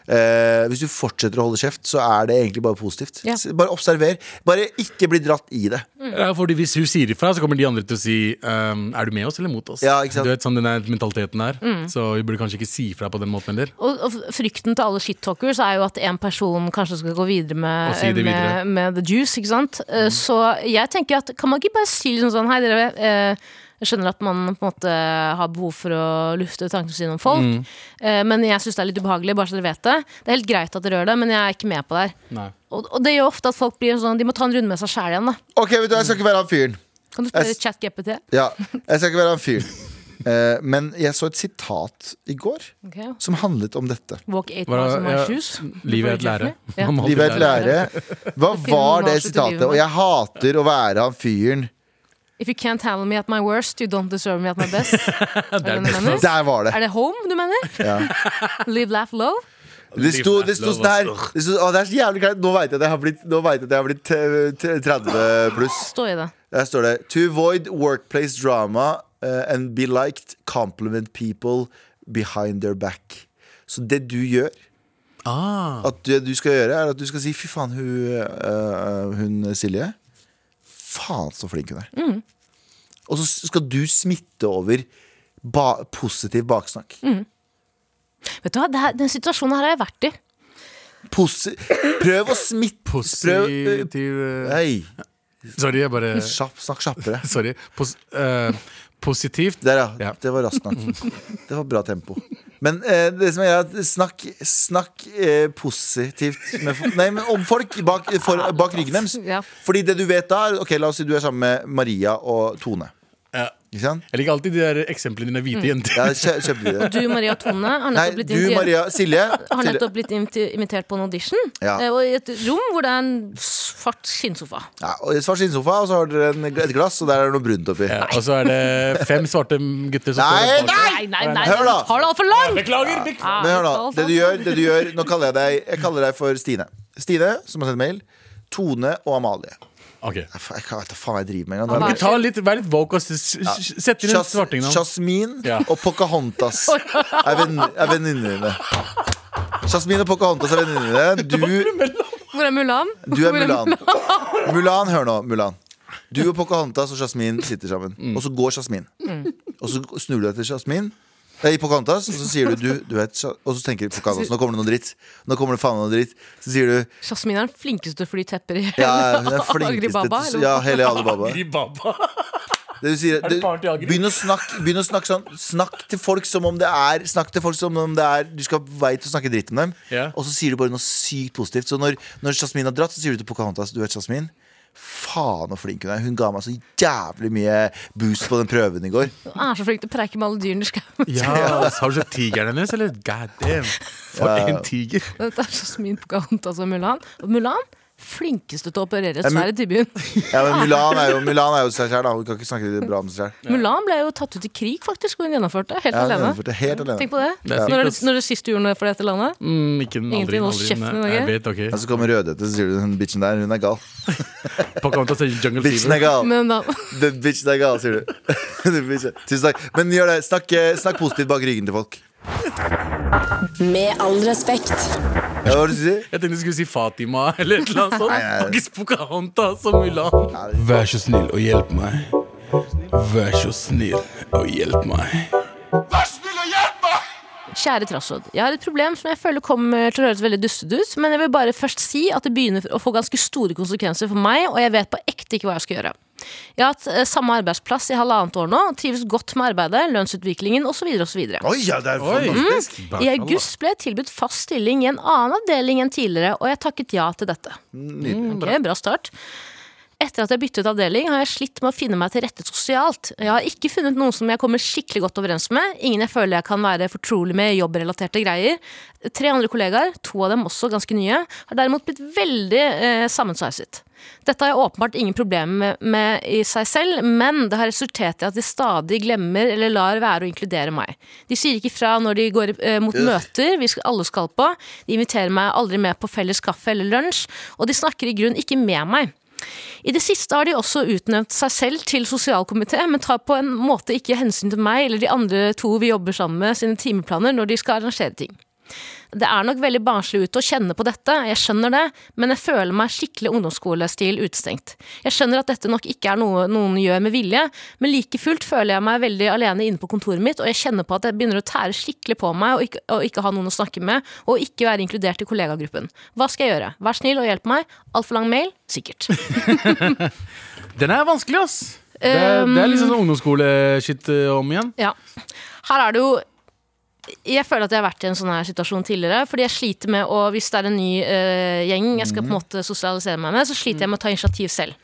Speaker 3: eh, Hvis du fortsetter å holde kjeft, så er det egentlig bare positivt.
Speaker 4: Ja.
Speaker 3: S- Bare observer. Bare ikke bli dratt i det.
Speaker 2: Ja, fordi Hvis hun sier ifra, så kommer de andre til å si ehm, Er du med oss eller mot oss?
Speaker 3: Ja, ikke sant?
Speaker 2: Du vet sånn den der mentaliteten er.
Speaker 4: Mm.
Speaker 2: Så vi burde kanskje ikke si ifra på den måten heller.
Speaker 4: Og, og frykten til alle shit-talkers er jo at en person kanskje skal gå videre med,
Speaker 2: Og si det videre. Mm.
Speaker 4: med, med the juice, ikke sant. Eh, Så jeg tenker at kan man ikke bare si liksom sånn hei, dere. eh, Jeg skjønner at man på en måte har behov for å lufte tankene sine om folk,
Speaker 2: Mm.
Speaker 4: eh, men jeg syns det er litt ubehagelig, bare så dere vet det. Det er helt greit at dere gjør det, men jeg er ikke med på det her.
Speaker 2: Nei.
Speaker 4: Og, og det gjør ofte at folk blir sånn De må ta en runde med seg sjæl igjen, da.
Speaker 3: OK, vet du, jeg skal ikke være han fyren.
Speaker 4: Kan du
Speaker 3: Jeg
Speaker 4: spørre
Speaker 3: s-
Speaker 4: ChatGPT?
Speaker 3: Ja, jeg skal ikke være han fyren. Eh, men jeg så et sitat i går
Speaker 4: Okay.
Speaker 3: som handlet om dette.
Speaker 4: Walk eight
Speaker 2: Hva-
Speaker 4: miles in my
Speaker 2: ja,
Speaker 4: shoes. Du
Speaker 2: Livet er
Speaker 4: får
Speaker 2: et lære.
Speaker 4: ikke
Speaker 2: *laughs*
Speaker 4: kjeft med. Ja.
Speaker 2: Man må alltid
Speaker 3: Livet er et lære.
Speaker 4: finner
Speaker 3: Hva var
Speaker 4: noen
Speaker 3: det
Speaker 4: marsjer til
Speaker 3: sitatet?
Speaker 4: livet.
Speaker 3: Og jeg hater å være han fyren.
Speaker 4: If you can't handle me at my worst, you don't deserve me at my best. er, det den du mener?
Speaker 3: Der var det.
Speaker 4: er det home du mener? *laughs* Live, laugh, love?
Speaker 3: Det sto, det sto sånn her det sto, å, det er så jævlig kleint. Nå veit jeg at jeg har blitt, nå vet jeg at jeg har blitt eh, t- 30 pluss.
Speaker 4: Stå i det.
Speaker 3: Der står det To avoid workplace drama eh, and be liked, compliment people behind their back. Så det du gjør,
Speaker 2: Ah,
Speaker 3: at det du skal gjøre, er at du skal si fy faen, hun, eh, hun Silje Faen så flink hun er. Og så skal du smitte over ba positiv baksnakk.
Speaker 4: Vet du hva, det her, Den situasjonen her har jeg vært i.
Speaker 3: Posi prøv å smitte prøv, eh,
Speaker 2: positiv eh,
Speaker 3: Hei,
Speaker 2: Sorry, jeg bare
Speaker 3: kjapp, snakk
Speaker 2: *laughs*
Speaker 3: kjappere.
Speaker 2: Sorry. Pos, eh, positivt
Speaker 3: Der, ja.
Speaker 2: Ja.
Speaker 3: Det var raskt nok.
Speaker 2: *laughs*
Speaker 3: Det var bra tempo. Men eh, det som er at snakk, snakk eh, positivt med, fo- nei, men om folk bak, for, bak ryggen deres.
Speaker 4: Ja.
Speaker 3: Fordi det du vet da er Ok, La oss si du er sammen med Maria og Tone.
Speaker 2: Ja.
Speaker 3: Ikke sant?
Speaker 2: Jeg liker alltid de der eksemplene dine, hvite
Speaker 4: Mm.
Speaker 2: jenter.
Speaker 3: Ja, kjø, kjøper vi det.
Speaker 4: Du, Maria Tone, har
Speaker 3: Nei,
Speaker 4: nettopp blitt,
Speaker 3: du,
Speaker 4: invitert-
Speaker 3: Maria Silje.
Speaker 4: *laughs* har
Speaker 3: Silje.
Speaker 4: nettopp blitt imiti- invitert på en audition.
Speaker 3: Ja.
Speaker 4: eh, Og i et rom hvor det er en svart skinnsofa.
Speaker 3: Ja, og Svart skinnsofa, og så har dere en, et glass, og der er det noe brunt oppi.
Speaker 2: Ja, og så er det fem svarte gutter som
Speaker 3: Nei,
Speaker 2: står og-
Speaker 3: nei!
Speaker 4: Nei, nei, nei,
Speaker 3: Hør
Speaker 4: du
Speaker 3: da.
Speaker 4: tar det altfor langt!
Speaker 2: Beklager! beklager.
Speaker 4: Ja,
Speaker 3: Men hør nå,
Speaker 4: alt, sånn.
Speaker 3: det du
Speaker 4: alt.
Speaker 3: gjør, det du gjør Nå kaller jeg deg, jeg kaller deg for Stine. Stine, som har sendt mail. Tone og Amalie.
Speaker 2: Ok.
Speaker 3: Faen, Jeg vet da faen hva jeg driver med engang.
Speaker 4: Amalie.
Speaker 2: Men ta litt, Vær litt woke og s- s- s- sett inn en
Speaker 3: Jas
Speaker 2: svarting nå.
Speaker 3: Jasmin
Speaker 2: Ja.
Speaker 3: og
Speaker 4: *laughs*
Speaker 3: Pocahontas er venn- er venninnene dine. Jasmin og Pocahontas
Speaker 4: *laughs*
Speaker 3: er venninnene dine. Du,
Speaker 4: Hvor er Mulan?
Speaker 3: du er Mulan. Mulan, hør nå, Mulan. Du og Pocahontas og Jasmin sitter sammen, og så går Jasmin.
Speaker 4: Mm.
Speaker 3: Og så snur du deg til Jasmin. Nei, Pocahontas, og så sier du, du, du vet, Ja- Og så tenker Pocahontas nå kommer det noe dritt. Nå kommer det faen meg noe dritt Så sier du
Speaker 4: Jasmin er den flinkeste til å fly tepper i *laughs*
Speaker 3: ja, den
Speaker 4: Agribaba,
Speaker 3: flinkeste
Speaker 4: eller
Speaker 3: Ja,
Speaker 4: hva?
Speaker 3: hele Alibaba.
Speaker 2: Agri Baba.
Speaker 3: Det du sier,
Speaker 2: det
Speaker 3: det,
Speaker 2: faren til Agri?
Speaker 3: begynn å snakke, begynn å snakke sånn Snakk til folk som om det er Snakk til folk som om det er Du skal på vei til å snakke dritt med dem
Speaker 2: Ja.
Speaker 3: Og så sier du bare noe sykt positivt Så når, når Jasmin har dratt, så sier du til Pocahontas Du vet Jasmin, faen hvor flink hun er Hun ga meg så jævlig mye boost på den prøven i går
Speaker 4: Hun er så flink til å preike med alle dyrene i skauen. *laughs*
Speaker 2: Ja,
Speaker 3: *laughs*
Speaker 2: altså, Har du sett tigeren hennes, eller? God damn. For en tiger.
Speaker 4: Dette er Jasmin Pocahontas og Mulan. Og Mulan, flinkeste til å operere et
Speaker 3: men-
Speaker 4: sverd i tibien.
Speaker 3: *laughs* Ja, men Mulan er jo, Mulan er jo seg selv da Hun kan ikke snakke bra om seg selv
Speaker 4: Mulan ble jo tatt ut i krig, faktisk, og hun gjennomførte. Helt
Speaker 3: ja, hun
Speaker 4: alene.
Speaker 3: gjennomførte helt alene
Speaker 4: Tenk på det.
Speaker 2: er sykt,
Speaker 4: Når er det,
Speaker 2: ass.
Speaker 4: når er det sist du gjorde noe for dette landet?
Speaker 2: Mm, ikke den aldri,
Speaker 4: Ingenting holder
Speaker 2: aldri,
Speaker 4: kjeften i
Speaker 2: nei, Jeg
Speaker 4: Norge.
Speaker 2: vet,
Speaker 3: Ja,
Speaker 2: ok
Speaker 3: så kommer Rødhette, så sier du Den bitchen der, hun er gal
Speaker 2: Pocahontas er Jungle
Speaker 3: Bitchen er
Speaker 2: Fever.
Speaker 3: gal
Speaker 4: Men da, *laughs*
Speaker 3: Den bitchen er gal, sier du. *laughs* Den bitchen. Tusen takk. Men gjør det. Snakk, eh, snakk positivt bak ryggen til folk.
Speaker 7: Med all respekt.
Speaker 3: Ja, hva var det du sier?
Speaker 2: Jeg tenkte du skulle si Fatima *laughs* eller et eller annet sånt.
Speaker 3: nei.
Speaker 2: Faktisk Pocahontas og Mulan.
Speaker 9: Vær så snill og hjelp meg. Vær så snill og hjelp meg.
Speaker 4: kjære Trassråd. Jeg har et problem som jeg føler kommer til å høres veldig dustete ut, men jeg vil bare først si at det begynner å få ganske store konsekvenser for meg, og jeg vet på ekte ikke hva jeg skal gjøre. Jeg har hatt eh, samme arbeidsplass i halvannet år nå, og trives godt med arbeidet, lønnsutviklingen osv. osv.
Speaker 3: Oi, ja, det er fantastisk.
Speaker 2: Bak
Speaker 4: I
Speaker 2: Allah.
Speaker 4: august ble jeg tilbudt fast stilling i en annen avdeling enn tidligere, og jeg takket ja til dette. Mm,
Speaker 3: Nydelig.
Speaker 4: Ok, bra start. Etter at jeg byttet avdeling, har jeg slitt med å finne meg til rette sosialt. Jeg har ikke funnet noen som jeg kommer skikkelig godt overens med. Ingen jeg føler jeg kan være fortrolig med i jobbrelaterte greier. Tre andre kollegaer, to av dem også ganske nye, har derimot blitt veldig eh, sammensveiset. Dette har jeg åpenbart ingen problemer med, med i seg selv, men det har resultert i at de stadig glemmer eller lar være å inkludere meg. De sier ikke fra når de går eh, mot møter vi skal, alle skal på, de inviterer meg aldri med på felles kaffe eller lunsj, og de snakker i grunn ikke med meg. I det siste har de også utnevnt seg selv til sosialkomité, men tar på en måte ikke hensyn til meg eller de andre to vi jobber sammen med sine timeplaner når de skal arrangere ting. Det er nok veldig barnslig ut å kjenne på dette, jeg skjønner det, men jeg føler meg skikkelig ungdomsskolestil utestengt. Jeg skjønner at dette nok ikke er noe noen gjør med vilje, men like fullt føler jeg meg veldig alene inne på kontoret mitt, og jeg kjenner på at jeg begynner å tære skikkelig på meg og ikke, og ikke ha noen å snakke med, og ikke være inkludert i kollegagruppen. Hva skal jeg gjøre? Vær snill og hjelp meg. Altfor lang mail? Sikkert.
Speaker 2: Den er vanskelig, ass. Det er, det er liksom sånn ungdomsskoleshit eh, om igjen.
Speaker 4: Ja. Her er det jo jeg føler at jeg har vært i en sånn her situasjon tidligere. Fordi jeg sliter med å, Hvis det er en ny eh, gjeng jeg skal på en måte sosialisere meg med, så sliter jeg med å ta initiativ selv.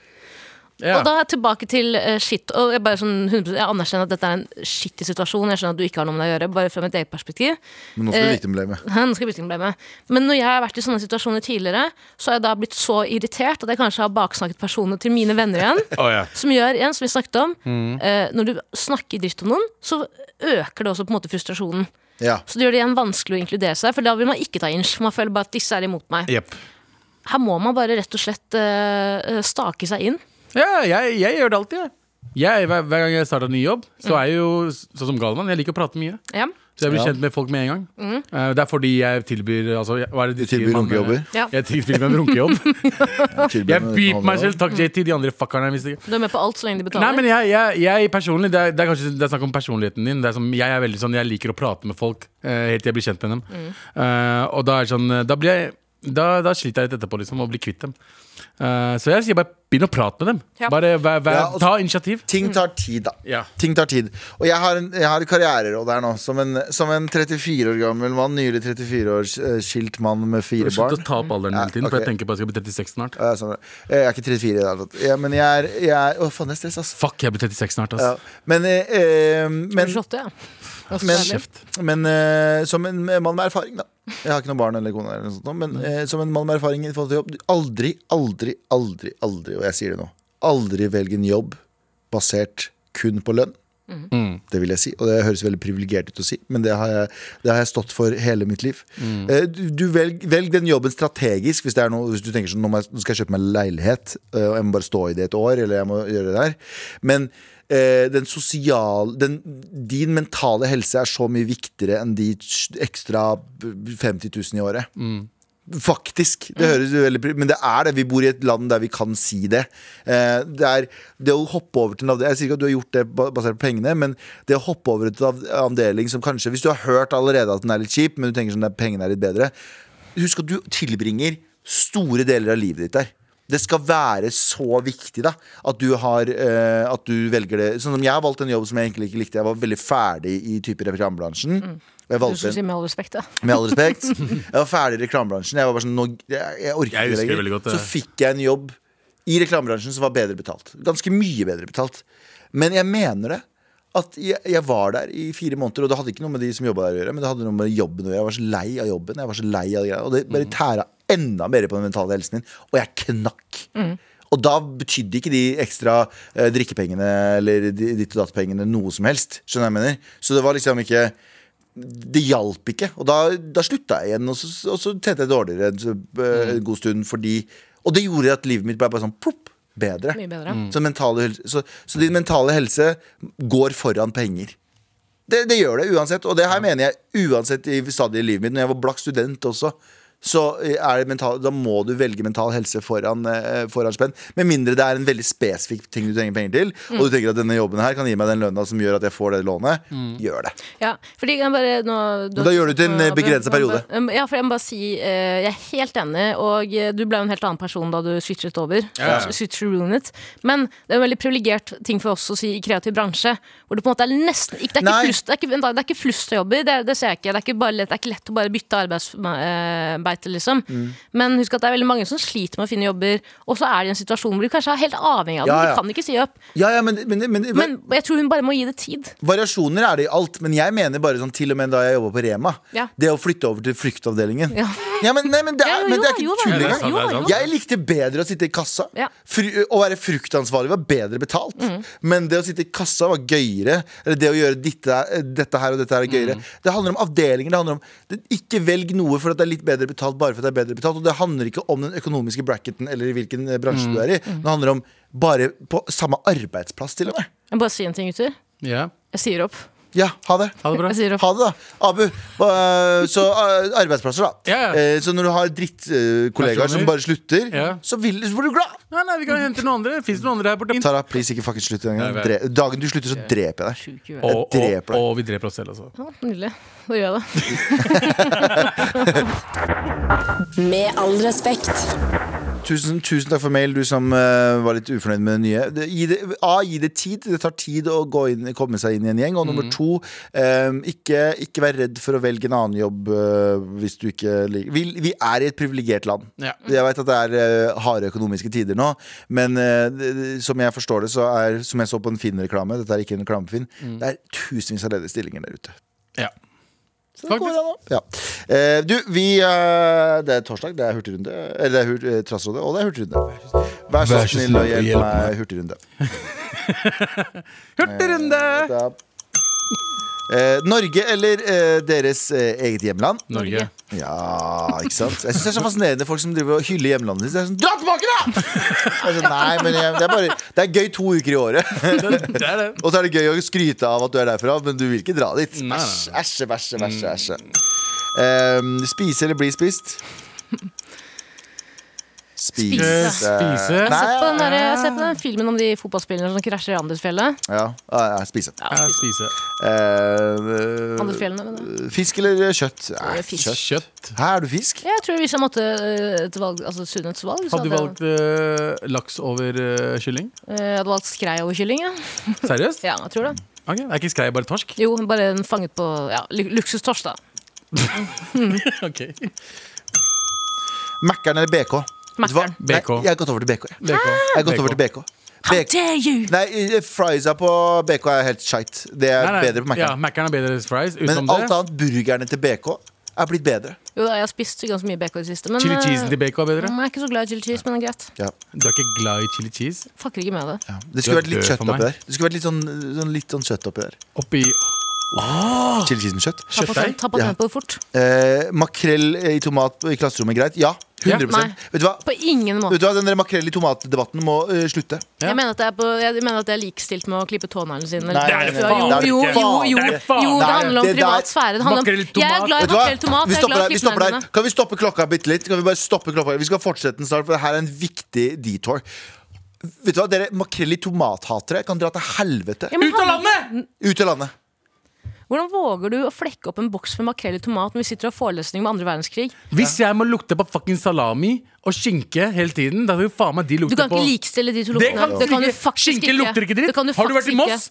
Speaker 2: Ja.
Speaker 4: Og da er jeg tilbake til eh, shit. Og jeg, bare sånn, 100%, jeg anerkjenner at dette er en skittig situasjon. Jeg skjønner at du ikke har noe med det å gjøre, bare fra mitt eget perspektiv.
Speaker 3: Men nå skal du vite om det med.
Speaker 4: Hæ, Nå skal jeg bytte embleme. Men når jeg har vært i sånne situasjoner tidligere, så har jeg da blitt så irritert at jeg kanskje har baksnakket personene til mine venner igjen. Som gjør, igjen, som vi snakket om,
Speaker 2: Mm.
Speaker 4: eh, når du snakker dritt om noen, så øker det også på en måte frustrasjonen.
Speaker 3: Ja.
Speaker 4: Så det gjør det igjen vanskelig å inkludere seg, for da vil man ikke ta inch. Man føler bare at disse er imot meg.
Speaker 2: Jepp.
Speaker 4: Her må man bare rett og slett eh, stake seg inn.
Speaker 2: Ja, jeg, jeg gjør det alltid, jeg. jeg hver, hver gang jeg starter ny jobb, så er jeg jo sånn som Galvan. Jeg liker å prate mye.
Speaker 4: Ja.
Speaker 2: Så jeg blir
Speaker 3: Ja.
Speaker 2: kjent med folk med en gang. Eh, det er fordi jeg tilbyr altså, jeg- hva er det de
Speaker 3: Du tilbyr
Speaker 2: sier, man- eh,
Speaker 3: runkejobber?
Speaker 4: Ja.
Speaker 2: Jeg tilbyr meg en
Speaker 3: *laughs*
Speaker 2: runkejobb.
Speaker 3: Tilbyr
Speaker 2: Jeg
Speaker 3: meg-
Speaker 2: beeper meg selv.
Speaker 4: Mm.
Speaker 2: Takk, JT, de andre fuckerne. Hvis det
Speaker 4: Du er med på alt så lenge
Speaker 2: Nei,
Speaker 4: de betaler.
Speaker 2: men jeg, jeg, jeg personlig det er, det er kanskje det er snakk om personligheten din. Det er som, jeg er veldig sånn, jeg liker å prate med folk eh, helt til jeg blir kjent med dem.
Speaker 4: Mm.
Speaker 2: Eh, og da er det sånn eh, Da, blir jeg, da, da sliter jeg litt etterpå liksom, å bli kvitt dem. Eh, så jeg sier bare begynn å prate med dem.
Speaker 4: Ja.
Speaker 2: Bare vær, vær,
Speaker 3: Ja, altså- og så-
Speaker 2: Ta initiativ.
Speaker 3: Ting tar tid, da.
Speaker 2: Ja.
Speaker 3: Ting tar tid. Og jeg har, en, jeg har et karriereråd her nå. Som en, som en 34 år gammel mann, nylig 34 år eh, skilt mann med fire
Speaker 2: Slutt å
Speaker 3: barn.
Speaker 2: ta opp alderen
Speaker 3: Ja,
Speaker 2: hele tiden, for
Speaker 3: ok.
Speaker 2: jeg tenker på at jeg skal bli 36 snart.
Speaker 3: Ja, sånn er det. Jeg er ikke 34 i det hele tatt. Ja, men jeg er, jeg er Å, faen, jeg er stressa, ass.
Speaker 2: Fuck, jeg blir 36 snart,
Speaker 3: Ja.
Speaker 2: ass.
Speaker 3: Men, eh, eh, men,
Speaker 4: 28, ja. Også ærlig.
Speaker 3: Men- men eh, som en mann med erfaring, da. Jeg har ikke noen barn eller kone, eller noe sånt, nå, men eh, som en mann med erfaring i forhold til jobb du- Aldri, aldri, aldri, aldri, og jeg sier det nå, aldri velg en jobb basert kun på lønn. Det vil jeg si, og det høres veldig privilegert ut å si, men det har jeg, det har jeg stått for hele mitt liv. Eh, Du, du velg, velg den jobben strategisk hvis, det er noe, hvis du tenker sånn, nå må jeg- nå skal jeg kjøpe meg leilighet, eh, og jeg må bare stå i det et år, eller jeg må gjøre det der. Men eh, den sosial, den, din mentale helse er så mye viktigere enn de ekstra 50 000 i året. Faktisk. Det høres jo veldig pri- Men det er det. Vi bor i et land der vi kan si det. Eh, det, er, det å hoppe over til en avdeling Jeg sier ikke at du har gjort det ba- basert på pengene, men det å hoppe over til en av- avdeling som kanskje Hvis du har hørt allerede at den er litt kjip, men du tenker sånn at pengene er litt bedre Husk at du tilbringer store deler av livet ditt der. Det skal være så viktig da at du, har, eh, at du velger det. Sånn som Jeg har valgt en jobb som jeg egentlig ikke likte. Jeg var veldig ferdig i type reklamebransjen. Og jeg
Speaker 4: Du
Speaker 3: valgte
Speaker 4: skal
Speaker 3: en-
Speaker 4: si med all respekt, da.
Speaker 3: med all respekt. Jeg var ferdig i reklamebransjen. Jeg var bare sånn, nå, jeg, jeg orker
Speaker 2: Jeg
Speaker 3: ikke
Speaker 2: husker
Speaker 3: lenger.
Speaker 2: veldig godt det.
Speaker 3: Så fikk jeg en jobb i reklamebransjen som var bedre betalt. Ganske mye bedre betalt. Men jeg mener det. At jeg, jeg var der i fire måneder, og det hadde ikke noe med de som jobba der å gjøre. Men det hadde noe med jobben å gjøre. Jeg var så lei av jobben. Jeg var så lei av det greia, Og det bare
Speaker 2: Mm.
Speaker 3: tæra enda mer på den mentale helsen min. Og jeg knakk. Og da betydde ikke de ekstra eh, drikkepengene eller de- ditt og datt-pengene noe som helst. Skjønner du hva jeg mener? Så det var liksom ikke det hjalp ikke. Og da, da slutta jeg igjen, og så, og så tjente jeg dårligere en, eh, en god stund fordi Og det gjorde at livet mitt ble bare sånn plopp, bedre.
Speaker 4: Mye bedre.
Speaker 3: Så, mentale, helse- så, så din mentale helse går foran penger. Det, det gjør det uansett, og det her mener jeg uansett i stadiet i livet mitt. Når jeg var blakk student også, så eh, er det mental, da må du velge mental helse foran, eh, foran spenn. Med mindre det er en veldig spesifikk ting du trenger penger til, og du tenker at denne jobben her kan gi meg den lønna som gjør at jeg får det lånet. Gjør det.
Speaker 4: Ja, fordi jeg bare nå,
Speaker 3: Men da gjør du det til en, eh, begrenset periode.
Speaker 4: Ja, for jeg må bare si eh, Jeg er helt enig, og eh, du ble jo en helt annen person da du switchet over.
Speaker 2: Ja.
Speaker 4: Switched runet. Men det er en veldig privilegert ting for oss å si i kreativ bransje, hvor det på en måte er nesten ikke, Det er
Speaker 3: Nei.
Speaker 4: ikke flust, det er ikke, vent da, det er ikke flust av jobber, det, er- det ser jeg ikke. Det er ikke, bare lett, det er ikke lett å bare bytte arbeidsbeite, liksom.
Speaker 3: Mm.
Speaker 4: Men husk at det er veldig mange som sliter med å finne jobber, og så er de i en situasjon hvor de kanskje er helt avhengig av det.
Speaker 3: Ja, ja.
Speaker 4: De kan ikke si opp.
Speaker 3: Ja, ja, men, men, men,
Speaker 4: Men jeg tror hun bare må gi det tid.
Speaker 3: Variasjoner er det i alt, men jeg mener bare sånn til og med da jeg jobba på Rema.
Speaker 4: Ja.
Speaker 3: Det å flytte over til flyktavdelingen.
Speaker 4: Ja.
Speaker 3: men, nei, men, det
Speaker 4: Ja,
Speaker 3: er,
Speaker 4: jo,
Speaker 3: men
Speaker 4: da,
Speaker 3: det er
Speaker 4: jo
Speaker 3: ikke
Speaker 4: da,
Speaker 3: tull liksom.
Speaker 2: Ja, det er sant, det
Speaker 3: engang.
Speaker 2: er sant.
Speaker 3: Jeg likte bedre å sitte i kassa.
Speaker 4: Ja. Mm.
Speaker 3: Fru- å være fruktansvarlig var bedre betalt. Men det å sitte i kassa var gøyere. Eller det å gjøre dette, dette her og dette her er
Speaker 4: Mm.
Speaker 3: gøyere. Det handler om avdelinger. Det handler om det, Ikke velg noe for at det er litt bedre betalt bare for at det er bedre betalt. Og det handler ikke om den økonomiske bracketen eller i hvilken eh,
Speaker 4: Mm.
Speaker 3: bransje du er i. Det handler om bare på samme arbeidsplass, til og med.
Speaker 4: Jeg må bare si en ting, gutter.
Speaker 2: Ja,
Speaker 4: Jeg sier opp.
Speaker 3: Ja, ha det.
Speaker 2: ha
Speaker 4: *laughs*
Speaker 2: det bra.
Speaker 4: Jeg sier opp.
Speaker 3: Ha det, da. Abu. eh, Så eh, arbeidsplasser, da.
Speaker 2: Ja, ja.
Speaker 3: Eh, Så når du har drittkollegaer som
Speaker 2: Personer.
Speaker 3: bare slutter,
Speaker 2: Ja.
Speaker 3: så, vil, så blir du glad.
Speaker 2: Nei, nei, vi kan hente noen andre. Fins det noen andre her borte?
Speaker 3: Tara, please, ikke fucking slutt den gangen.
Speaker 2: Nei,
Speaker 3: Dre- Dagen du slutter, så dreper jeg deg.
Speaker 4: Sjuk i huet.
Speaker 2: Og,
Speaker 3: Jeg
Speaker 2: og,
Speaker 3: dreper deg.
Speaker 2: og vi dreper oss selv, altså.
Speaker 4: Ja, nydelig. Da gjør jeg det.
Speaker 7: Med all respekt.
Speaker 3: Tusen, tusen takk for mail, du som eh, var litt ufornøyd med det nye. Det, gi det, A, gi det tid. Det tar tid å gå inn, komme seg inn i en gjeng. Og nummer to, eh, ikke, ikke vær redd for å velge en annen jobb eh, hvis du ikke liker Vi, vi er i et privilegert land.
Speaker 2: Ja.
Speaker 3: Jeg vet at det er eh, harde økonomiske tider nå, men eh, det- det- som jeg forstår det, så er som jeg så på en Finn-reklame Dette er ikke en reklame for Finn. Det er tusenvis av ledige stillinger der ute.
Speaker 2: Ja.
Speaker 3: Det går an, da. Ja. Eh, du, vi eh, Det er torsdag, det er hurtigrunde. Eller det er hurt, eh, Trassrådet, og det er hurtigrunde. Vær så
Speaker 9: Vær så
Speaker 3: snill og hjelp
Speaker 9: hjelp
Speaker 3: meg, hurtigrunde.
Speaker 2: Hurtigrunde!
Speaker 3: Da- Eh, Norge eller eh, deres eh, eget hjemland?
Speaker 2: Norge.
Speaker 3: Ja, ikke sant? Jeg syns det er så fascinerende folk som driver og hyller hjemlandet sitt. Det er sånn, Dra tilbake, *laughs* da! Jeg er sånn, Nei, men jeg, det, er bare, det er gøy to uker i året.
Speaker 2: Det, det er det.
Speaker 3: Og så er det gøy å skryte av at du er derfra, men du vil ikke dra dit.
Speaker 2: Nei, nei, nei.
Speaker 3: Æsj,
Speaker 2: Mm.
Speaker 3: æsj, æsj. æsj, æsj. Ehm, spise eller bli spist? Spise.
Speaker 4: Spise.
Speaker 2: Spise.
Speaker 3: Nei,
Speaker 4: Sett på den, der, jeg har sett på den filmen om de fotballspillerne som krasjer i Andersfjellet.
Speaker 3: Ja, ja, ja, spise.
Speaker 2: Ja, spise.
Speaker 3: Ehm,
Speaker 4: Andersfjellene, mener jeg.
Speaker 3: fisk eller kjøtt? Nei,
Speaker 4: Eh, Fisk.
Speaker 3: kjøtt.
Speaker 2: Kjøtt.
Speaker 3: Her er du fisk.
Speaker 4: Jeg tror hvis jeg måtte øh, et valg, altså sunnhetsvalg, så
Speaker 2: Hadde du valgt eh, laks over eh, kylling?
Speaker 4: øh, jeg hadde valgt skrei over kylling. Ja.
Speaker 2: Seriøst?
Speaker 4: ja, jeg tror det.
Speaker 2: Ok, Er ikke skrei bare
Speaker 4: *laughs*
Speaker 2: torsk?
Speaker 4: Jo, bare en fanget på ja, lu- luksustorsk, da.
Speaker 2: *laughs* Ok
Speaker 3: Mækkern eller BK? Vet du hva?
Speaker 4: Mækkern.
Speaker 2: BK.
Speaker 3: Nei, Jeg har gått over til BK. jeg.
Speaker 2: BK.
Speaker 3: Jeg har gått over til BK.
Speaker 4: How
Speaker 3: BK.
Speaker 4: dare you!
Speaker 3: Nei, eh, friesa på BK er helt shite. Det er
Speaker 2: Nei, nei,
Speaker 3: bedre på
Speaker 2: Ja,
Speaker 3: Mækkern.
Speaker 2: Mækkern er bedre enn fries. Utenom
Speaker 3: Men alt
Speaker 2: det,
Speaker 3: annet, burgerne til BK er blitt bedre.
Speaker 4: Jo da, jeg har spist ganske mye bacon i det siste, men
Speaker 2: chili
Speaker 4: øh,
Speaker 2: cheesen til BK er bedre.
Speaker 4: jeg er ikke så glad i chili cheese, men det er greit.
Speaker 3: Ja.
Speaker 2: Du er ikke glad i chili cheese?
Speaker 4: Fucker ikke med det.
Speaker 3: Det
Speaker 2: Du
Speaker 3: skulle
Speaker 2: er
Speaker 3: vært litt
Speaker 2: død
Speaker 3: kjøtt
Speaker 2: for
Speaker 3: oppi
Speaker 2: meg.
Speaker 3: der. Det skulle vært litt sånn, sånn, litt sånn kjøtt oppi der
Speaker 2: Oppi Ah.
Speaker 3: Chili cheese med kjøtt.
Speaker 4: Ta patent, ta patent
Speaker 3: Ja.
Speaker 4: på det fort.
Speaker 3: Eh, makrell i tomat i klasserommet, greit? Ja.
Speaker 4: Ja.
Speaker 3: 100
Speaker 4: Nei.
Speaker 3: Vet du hva?
Speaker 4: På ingen måte.
Speaker 3: Vet du hva, Den der makrell i tomat-debatten må eh, slutte.
Speaker 4: Jeg mener at det er, på, jeg mener at det er likestilt med å klippe tåneglene sine. eller-
Speaker 3: Nei,
Speaker 4: Jo,
Speaker 3: det er det
Speaker 4: jo,
Speaker 3: faen
Speaker 4: jo,
Speaker 3: ikke.
Speaker 4: jo, jo,
Speaker 3: Det er
Speaker 2: det faen
Speaker 4: jo, det
Speaker 3: ikke.
Speaker 4: handler om
Speaker 3: Det der-
Speaker 4: privat sfære. Det handler
Speaker 2: Makrell
Speaker 4: om,
Speaker 2: i
Speaker 4: jeg er glad i
Speaker 3: Vet du hva?
Speaker 4: makrell i tomat. Jeg
Speaker 3: Vi
Speaker 4: er
Speaker 3: stopper,
Speaker 4: glad
Speaker 3: der,
Speaker 4: i
Speaker 3: vi stopper der.
Speaker 4: knipneglene.
Speaker 3: Kan vi stoppe klokka bitte litt? Kan Vi bare stoppe klokka Vi skal fortsette den snart, for det her er en viktig detour. Vet du hva, dere Makrell i tomat-hatere kan dra til helvete.
Speaker 4: Ja, men handler-
Speaker 3: Ut av landet!
Speaker 4: Hvordan våger du å flekke opp en boks med makrell i tomat når vi sitter og har forelesning om andre verdenskrig?
Speaker 2: Hvis jeg må lukte på fucking salami og skinke hele tiden, da skal jo faen meg de
Speaker 4: Du
Speaker 2: lukte
Speaker 4: kan
Speaker 2: på
Speaker 4: ikke likestille de to
Speaker 2: Det
Speaker 4: luktene.
Speaker 2: kan du ikke. Skinke lukter ikke dritt.
Speaker 4: Det kan
Speaker 2: Har du
Speaker 4: faktisk
Speaker 2: vært i Moss?
Speaker 4: ikke.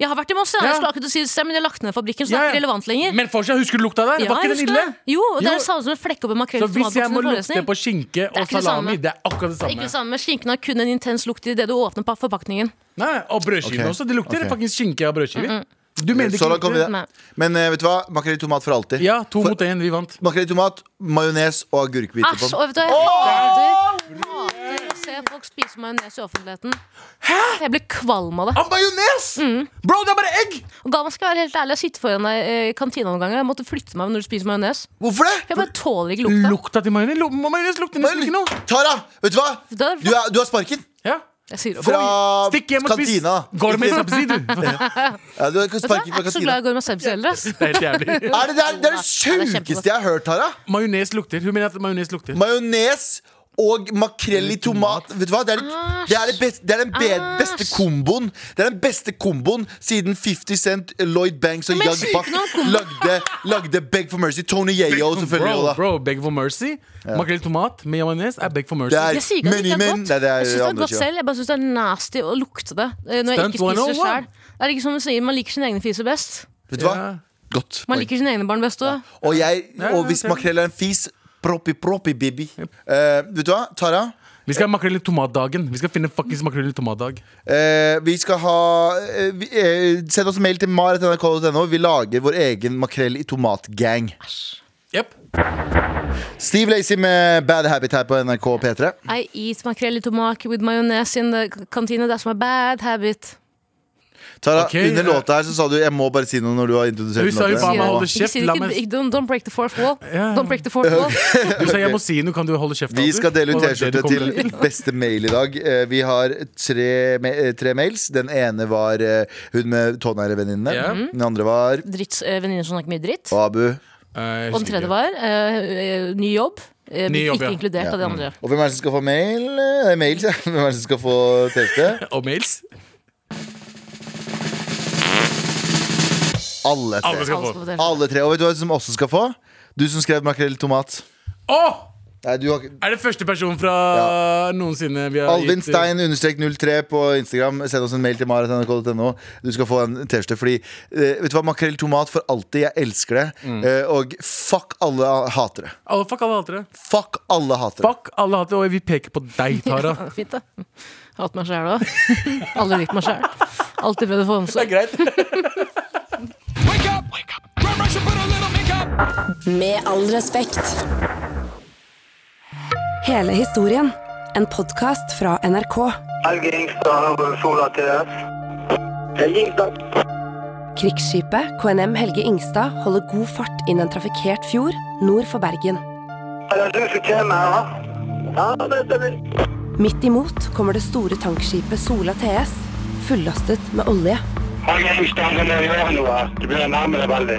Speaker 4: Jeg har vært i Moss, ja.
Speaker 2: Ja.
Speaker 4: Jeg skulle akkurat si det, til deg, men de har lagt ned fabrikken, så
Speaker 2: Ja, ja.
Speaker 4: det er ikke relevant lenger.
Speaker 2: Men fortsatt, husker du lukta der?
Speaker 4: Ja,
Speaker 2: var ikke den
Speaker 4: jeg husker
Speaker 2: ille?
Speaker 4: det. Jo, og det er
Speaker 2: Jo.
Speaker 4: det samme som å flekke opp en makrell
Speaker 2: Så
Speaker 4: i
Speaker 2: hvis jeg
Speaker 4: tomatboksen
Speaker 2: må
Speaker 4: i
Speaker 2: lukte
Speaker 4: forelesning.
Speaker 2: på skinke
Speaker 4: er
Speaker 2: og
Speaker 4: ikke det
Speaker 2: salami,
Speaker 4: samme.
Speaker 2: det er akkurat det
Speaker 4: Ikke
Speaker 2: samme.
Speaker 4: det samme. Skinken har kun en intens lukt idet du åpner pa- forpakningen.
Speaker 2: Nei, og brødskive
Speaker 3: Ok,
Speaker 2: også. Det lukter
Speaker 3: ok.
Speaker 2: fuckings skinke av brødskive. Du mener det
Speaker 3: Så
Speaker 2: ikke
Speaker 3: langt kom vi
Speaker 2: lukter?
Speaker 4: Nei.
Speaker 3: det. Men eh, vet du hva? Makrell i tomat for alltid.
Speaker 2: Ja, to
Speaker 3: For-
Speaker 2: mot én. Vi vant.
Speaker 3: Makrell i tomat, majones og agurkbiter på
Speaker 4: Æsj!
Speaker 3: den.
Speaker 4: Og vet du hva, jeg hater, hater å se folk spise majones i offentligheten. Jeg blir kvalm
Speaker 3: Ah.
Speaker 4: av det.
Speaker 2: Av majones!
Speaker 4: Mm.
Speaker 2: Bro, det er bare egg!
Speaker 4: Og da man skal være helt ærlig og sitte foran deg eh, i kantina noen ganger, jeg måtte flytte meg når du spiser majones.
Speaker 3: Hvorfor det?
Speaker 4: Jeg bare tåler ikke lukta.
Speaker 2: Lukta til majones lu- majones lukter nesten ikke noe.
Speaker 3: Tara, vet du hva?
Speaker 4: Da-
Speaker 3: Du, er, du har sparken
Speaker 2: Ja.
Speaker 4: Jeg sier det.
Speaker 3: fra
Speaker 2: Stikk hjem og spis.
Speaker 3: kantina.
Speaker 2: Går det med sabsi, du? *laughs*
Speaker 3: *laughs*
Speaker 2: Det
Speaker 3: Ja, du har
Speaker 4: Vet du hva?
Speaker 3: sparken
Speaker 4: Jeg
Speaker 3: fra
Speaker 4: er ikke så
Speaker 3: kantina.
Speaker 4: glad i Gorma Sebsi heller. ass.
Speaker 2: er helt jævlig.
Speaker 3: Er det, det, er, det er det
Speaker 4: Ja, det er kjempegodt.
Speaker 3: sjukeste jeg har hørt, Tara.
Speaker 2: Majones lukter. Hun mener at majones lukter.
Speaker 3: Majones og makrell i tomat. Vet du hva? Det er,
Speaker 4: Ah,
Speaker 3: det er, det best, det er den be, beste komboen Det er den beste komboen siden 50 Cent, Lloyd Banks og
Speaker 4: Men
Speaker 3: Young
Speaker 4: sykt
Speaker 3: Buck
Speaker 4: nok kombo.
Speaker 3: lagde, lagde Beg for Mercy. Tony Yeo, selvfølgelig.
Speaker 2: Bro,
Speaker 3: og da.
Speaker 2: bro, beg for mercy. Makrell i tomat med majones er beg for mercy.
Speaker 3: Det er
Speaker 4: Jeg sier ikke at det ikke
Speaker 3: Many
Speaker 4: er
Speaker 3: Men.
Speaker 4: godt.
Speaker 3: Nei, det er
Speaker 4: Jeg syns det er
Speaker 3: andre
Speaker 4: godt
Speaker 3: sida.
Speaker 4: selv. Jeg bare syns det er nasty å lukte det eh, når jeg
Speaker 2: Stunt
Speaker 4: ikke spiser
Speaker 2: 101.
Speaker 4: det selv. Det er ikke som du sier, man liker sine egne fiser best.
Speaker 3: Vet du hva?
Speaker 2: Ja.
Speaker 3: Godt.
Speaker 4: Man liker sine egne barn best òg.
Speaker 3: Og, jeg,
Speaker 2: ja,
Speaker 3: og hvis
Speaker 2: ok.
Speaker 3: makrell er en fis, proppi, proppi, baby. Eh, vet du hva, Tara?
Speaker 2: Vi skal ha makrell i tomatdagen. Vi skal finne fuckings makrell i tomatdag.
Speaker 3: Eh, vi skal ha eh, vi, eh, Send oss en mail til mar.nrk.no. Vi lager vår egen makrell i tomatgang.
Speaker 2: Yep.
Speaker 3: Steve Lacey med Bad Habit her på NRK P3.
Speaker 4: I eat makrell i tomat with mayonnaise in the cantina. That's my bad habit.
Speaker 3: Tara,
Speaker 2: Ok,
Speaker 3: under
Speaker 2: eh,
Speaker 3: låta her så sa du 'jeg må bare si noe' når du har introdusert
Speaker 2: Hun sa jo
Speaker 3: låta.
Speaker 2: faen meg
Speaker 4: Sier-
Speaker 2: holde
Speaker 4: Ikke
Speaker 2: kjeft.
Speaker 4: si det,
Speaker 2: La
Speaker 4: ikke-
Speaker 2: meg
Speaker 4: ikke- Don't don't break the fourth wall. Don't break the fourth wall.
Speaker 2: Du sa jeg må si noe, kan du holde kjeft?
Speaker 3: Vi
Speaker 2: Abu?
Speaker 3: skal dele ut
Speaker 2: Og det var det
Speaker 3: T-skjorte
Speaker 2: du kom
Speaker 3: *laughs* til beste mail i dag. Eh, Vi har tre, ma- eh, tre mails. Den ene var eh, hun med tåneglevenninnene.
Speaker 2: Ja.
Speaker 3: Den andre var
Speaker 4: Dritt, eh, venninner som snakker mye dritt.
Speaker 3: og Abu.
Speaker 2: Eh, jeg
Speaker 4: Og
Speaker 2: husker
Speaker 4: den tredje
Speaker 2: ikke.
Speaker 4: var eh, eh, ny jobb. Eh,
Speaker 2: Ny jobb,
Speaker 4: ikke
Speaker 2: ja. Mm.
Speaker 4: inkludert av de andre.
Speaker 3: Og hvem er det som skal få mail? Eh, mail sier jeg. *laughs* Hvem er det som skal få
Speaker 2: *laughs*
Speaker 3: T-skjorte?
Speaker 2: Og mails?
Speaker 3: Alle
Speaker 2: Alle
Speaker 3: tre.
Speaker 2: skal
Speaker 4: Alle
Speaker 2: få.
Speaker 4: skal få dele.
Speaker 3: Alle tre. Og vet du hva som også skal få? Du som skrev makrell i tomat.
Speaker 2: Å!
Speaker 3: Nei, du har ikke
Speaker 2: Er det første person fra noensinne vi har
Speaker 3: Alvin
Speaker 2: gitt, eh,
Speaker 3: Stein understrek 03 på Instagram. Send oss en mail til marit.nrk.no. Du skal få en T-skjorte. Fordi eh, vet du hva, makrell tomat for alltid. Jeg elsker det. Eh, og fuck alle hatere.
Speaker 2: alle, Fuck alle hatere.
Speaker 3: Fuck alle hatere.
Speaker 2: Fuck alle hatere, og vi peker på deg, Tara.
Speaker 4: *laughs* *laughs* Ja, Fint, da. Hatt meg sjæl òg. Aldri likt meg sjæl. Alltid prøvd å få med seg.
Speaker 6: Wake up! Wake up! Grab brush and put a little makeup.
Speaker 7: Med all respekt. Hele historien. En podkast fra NRK.
Speaker 10: Helge Ingstad over sola til deg. Helge Ingstad.
Speaker 7: Krigsskipet KNM Helge Ingstad holder god fart inn en trafikkert fjord nord for Bergen.
Speaker 10: Er det du som kommer her, da? Ja, det stemmer.
Speaker 7: Midt imot kommer det store tankskipet Sola TS, fullastet med olje.
Speaker 10: Helge Ingstad, det er jo noe. Du begynner å nærme deg veldig.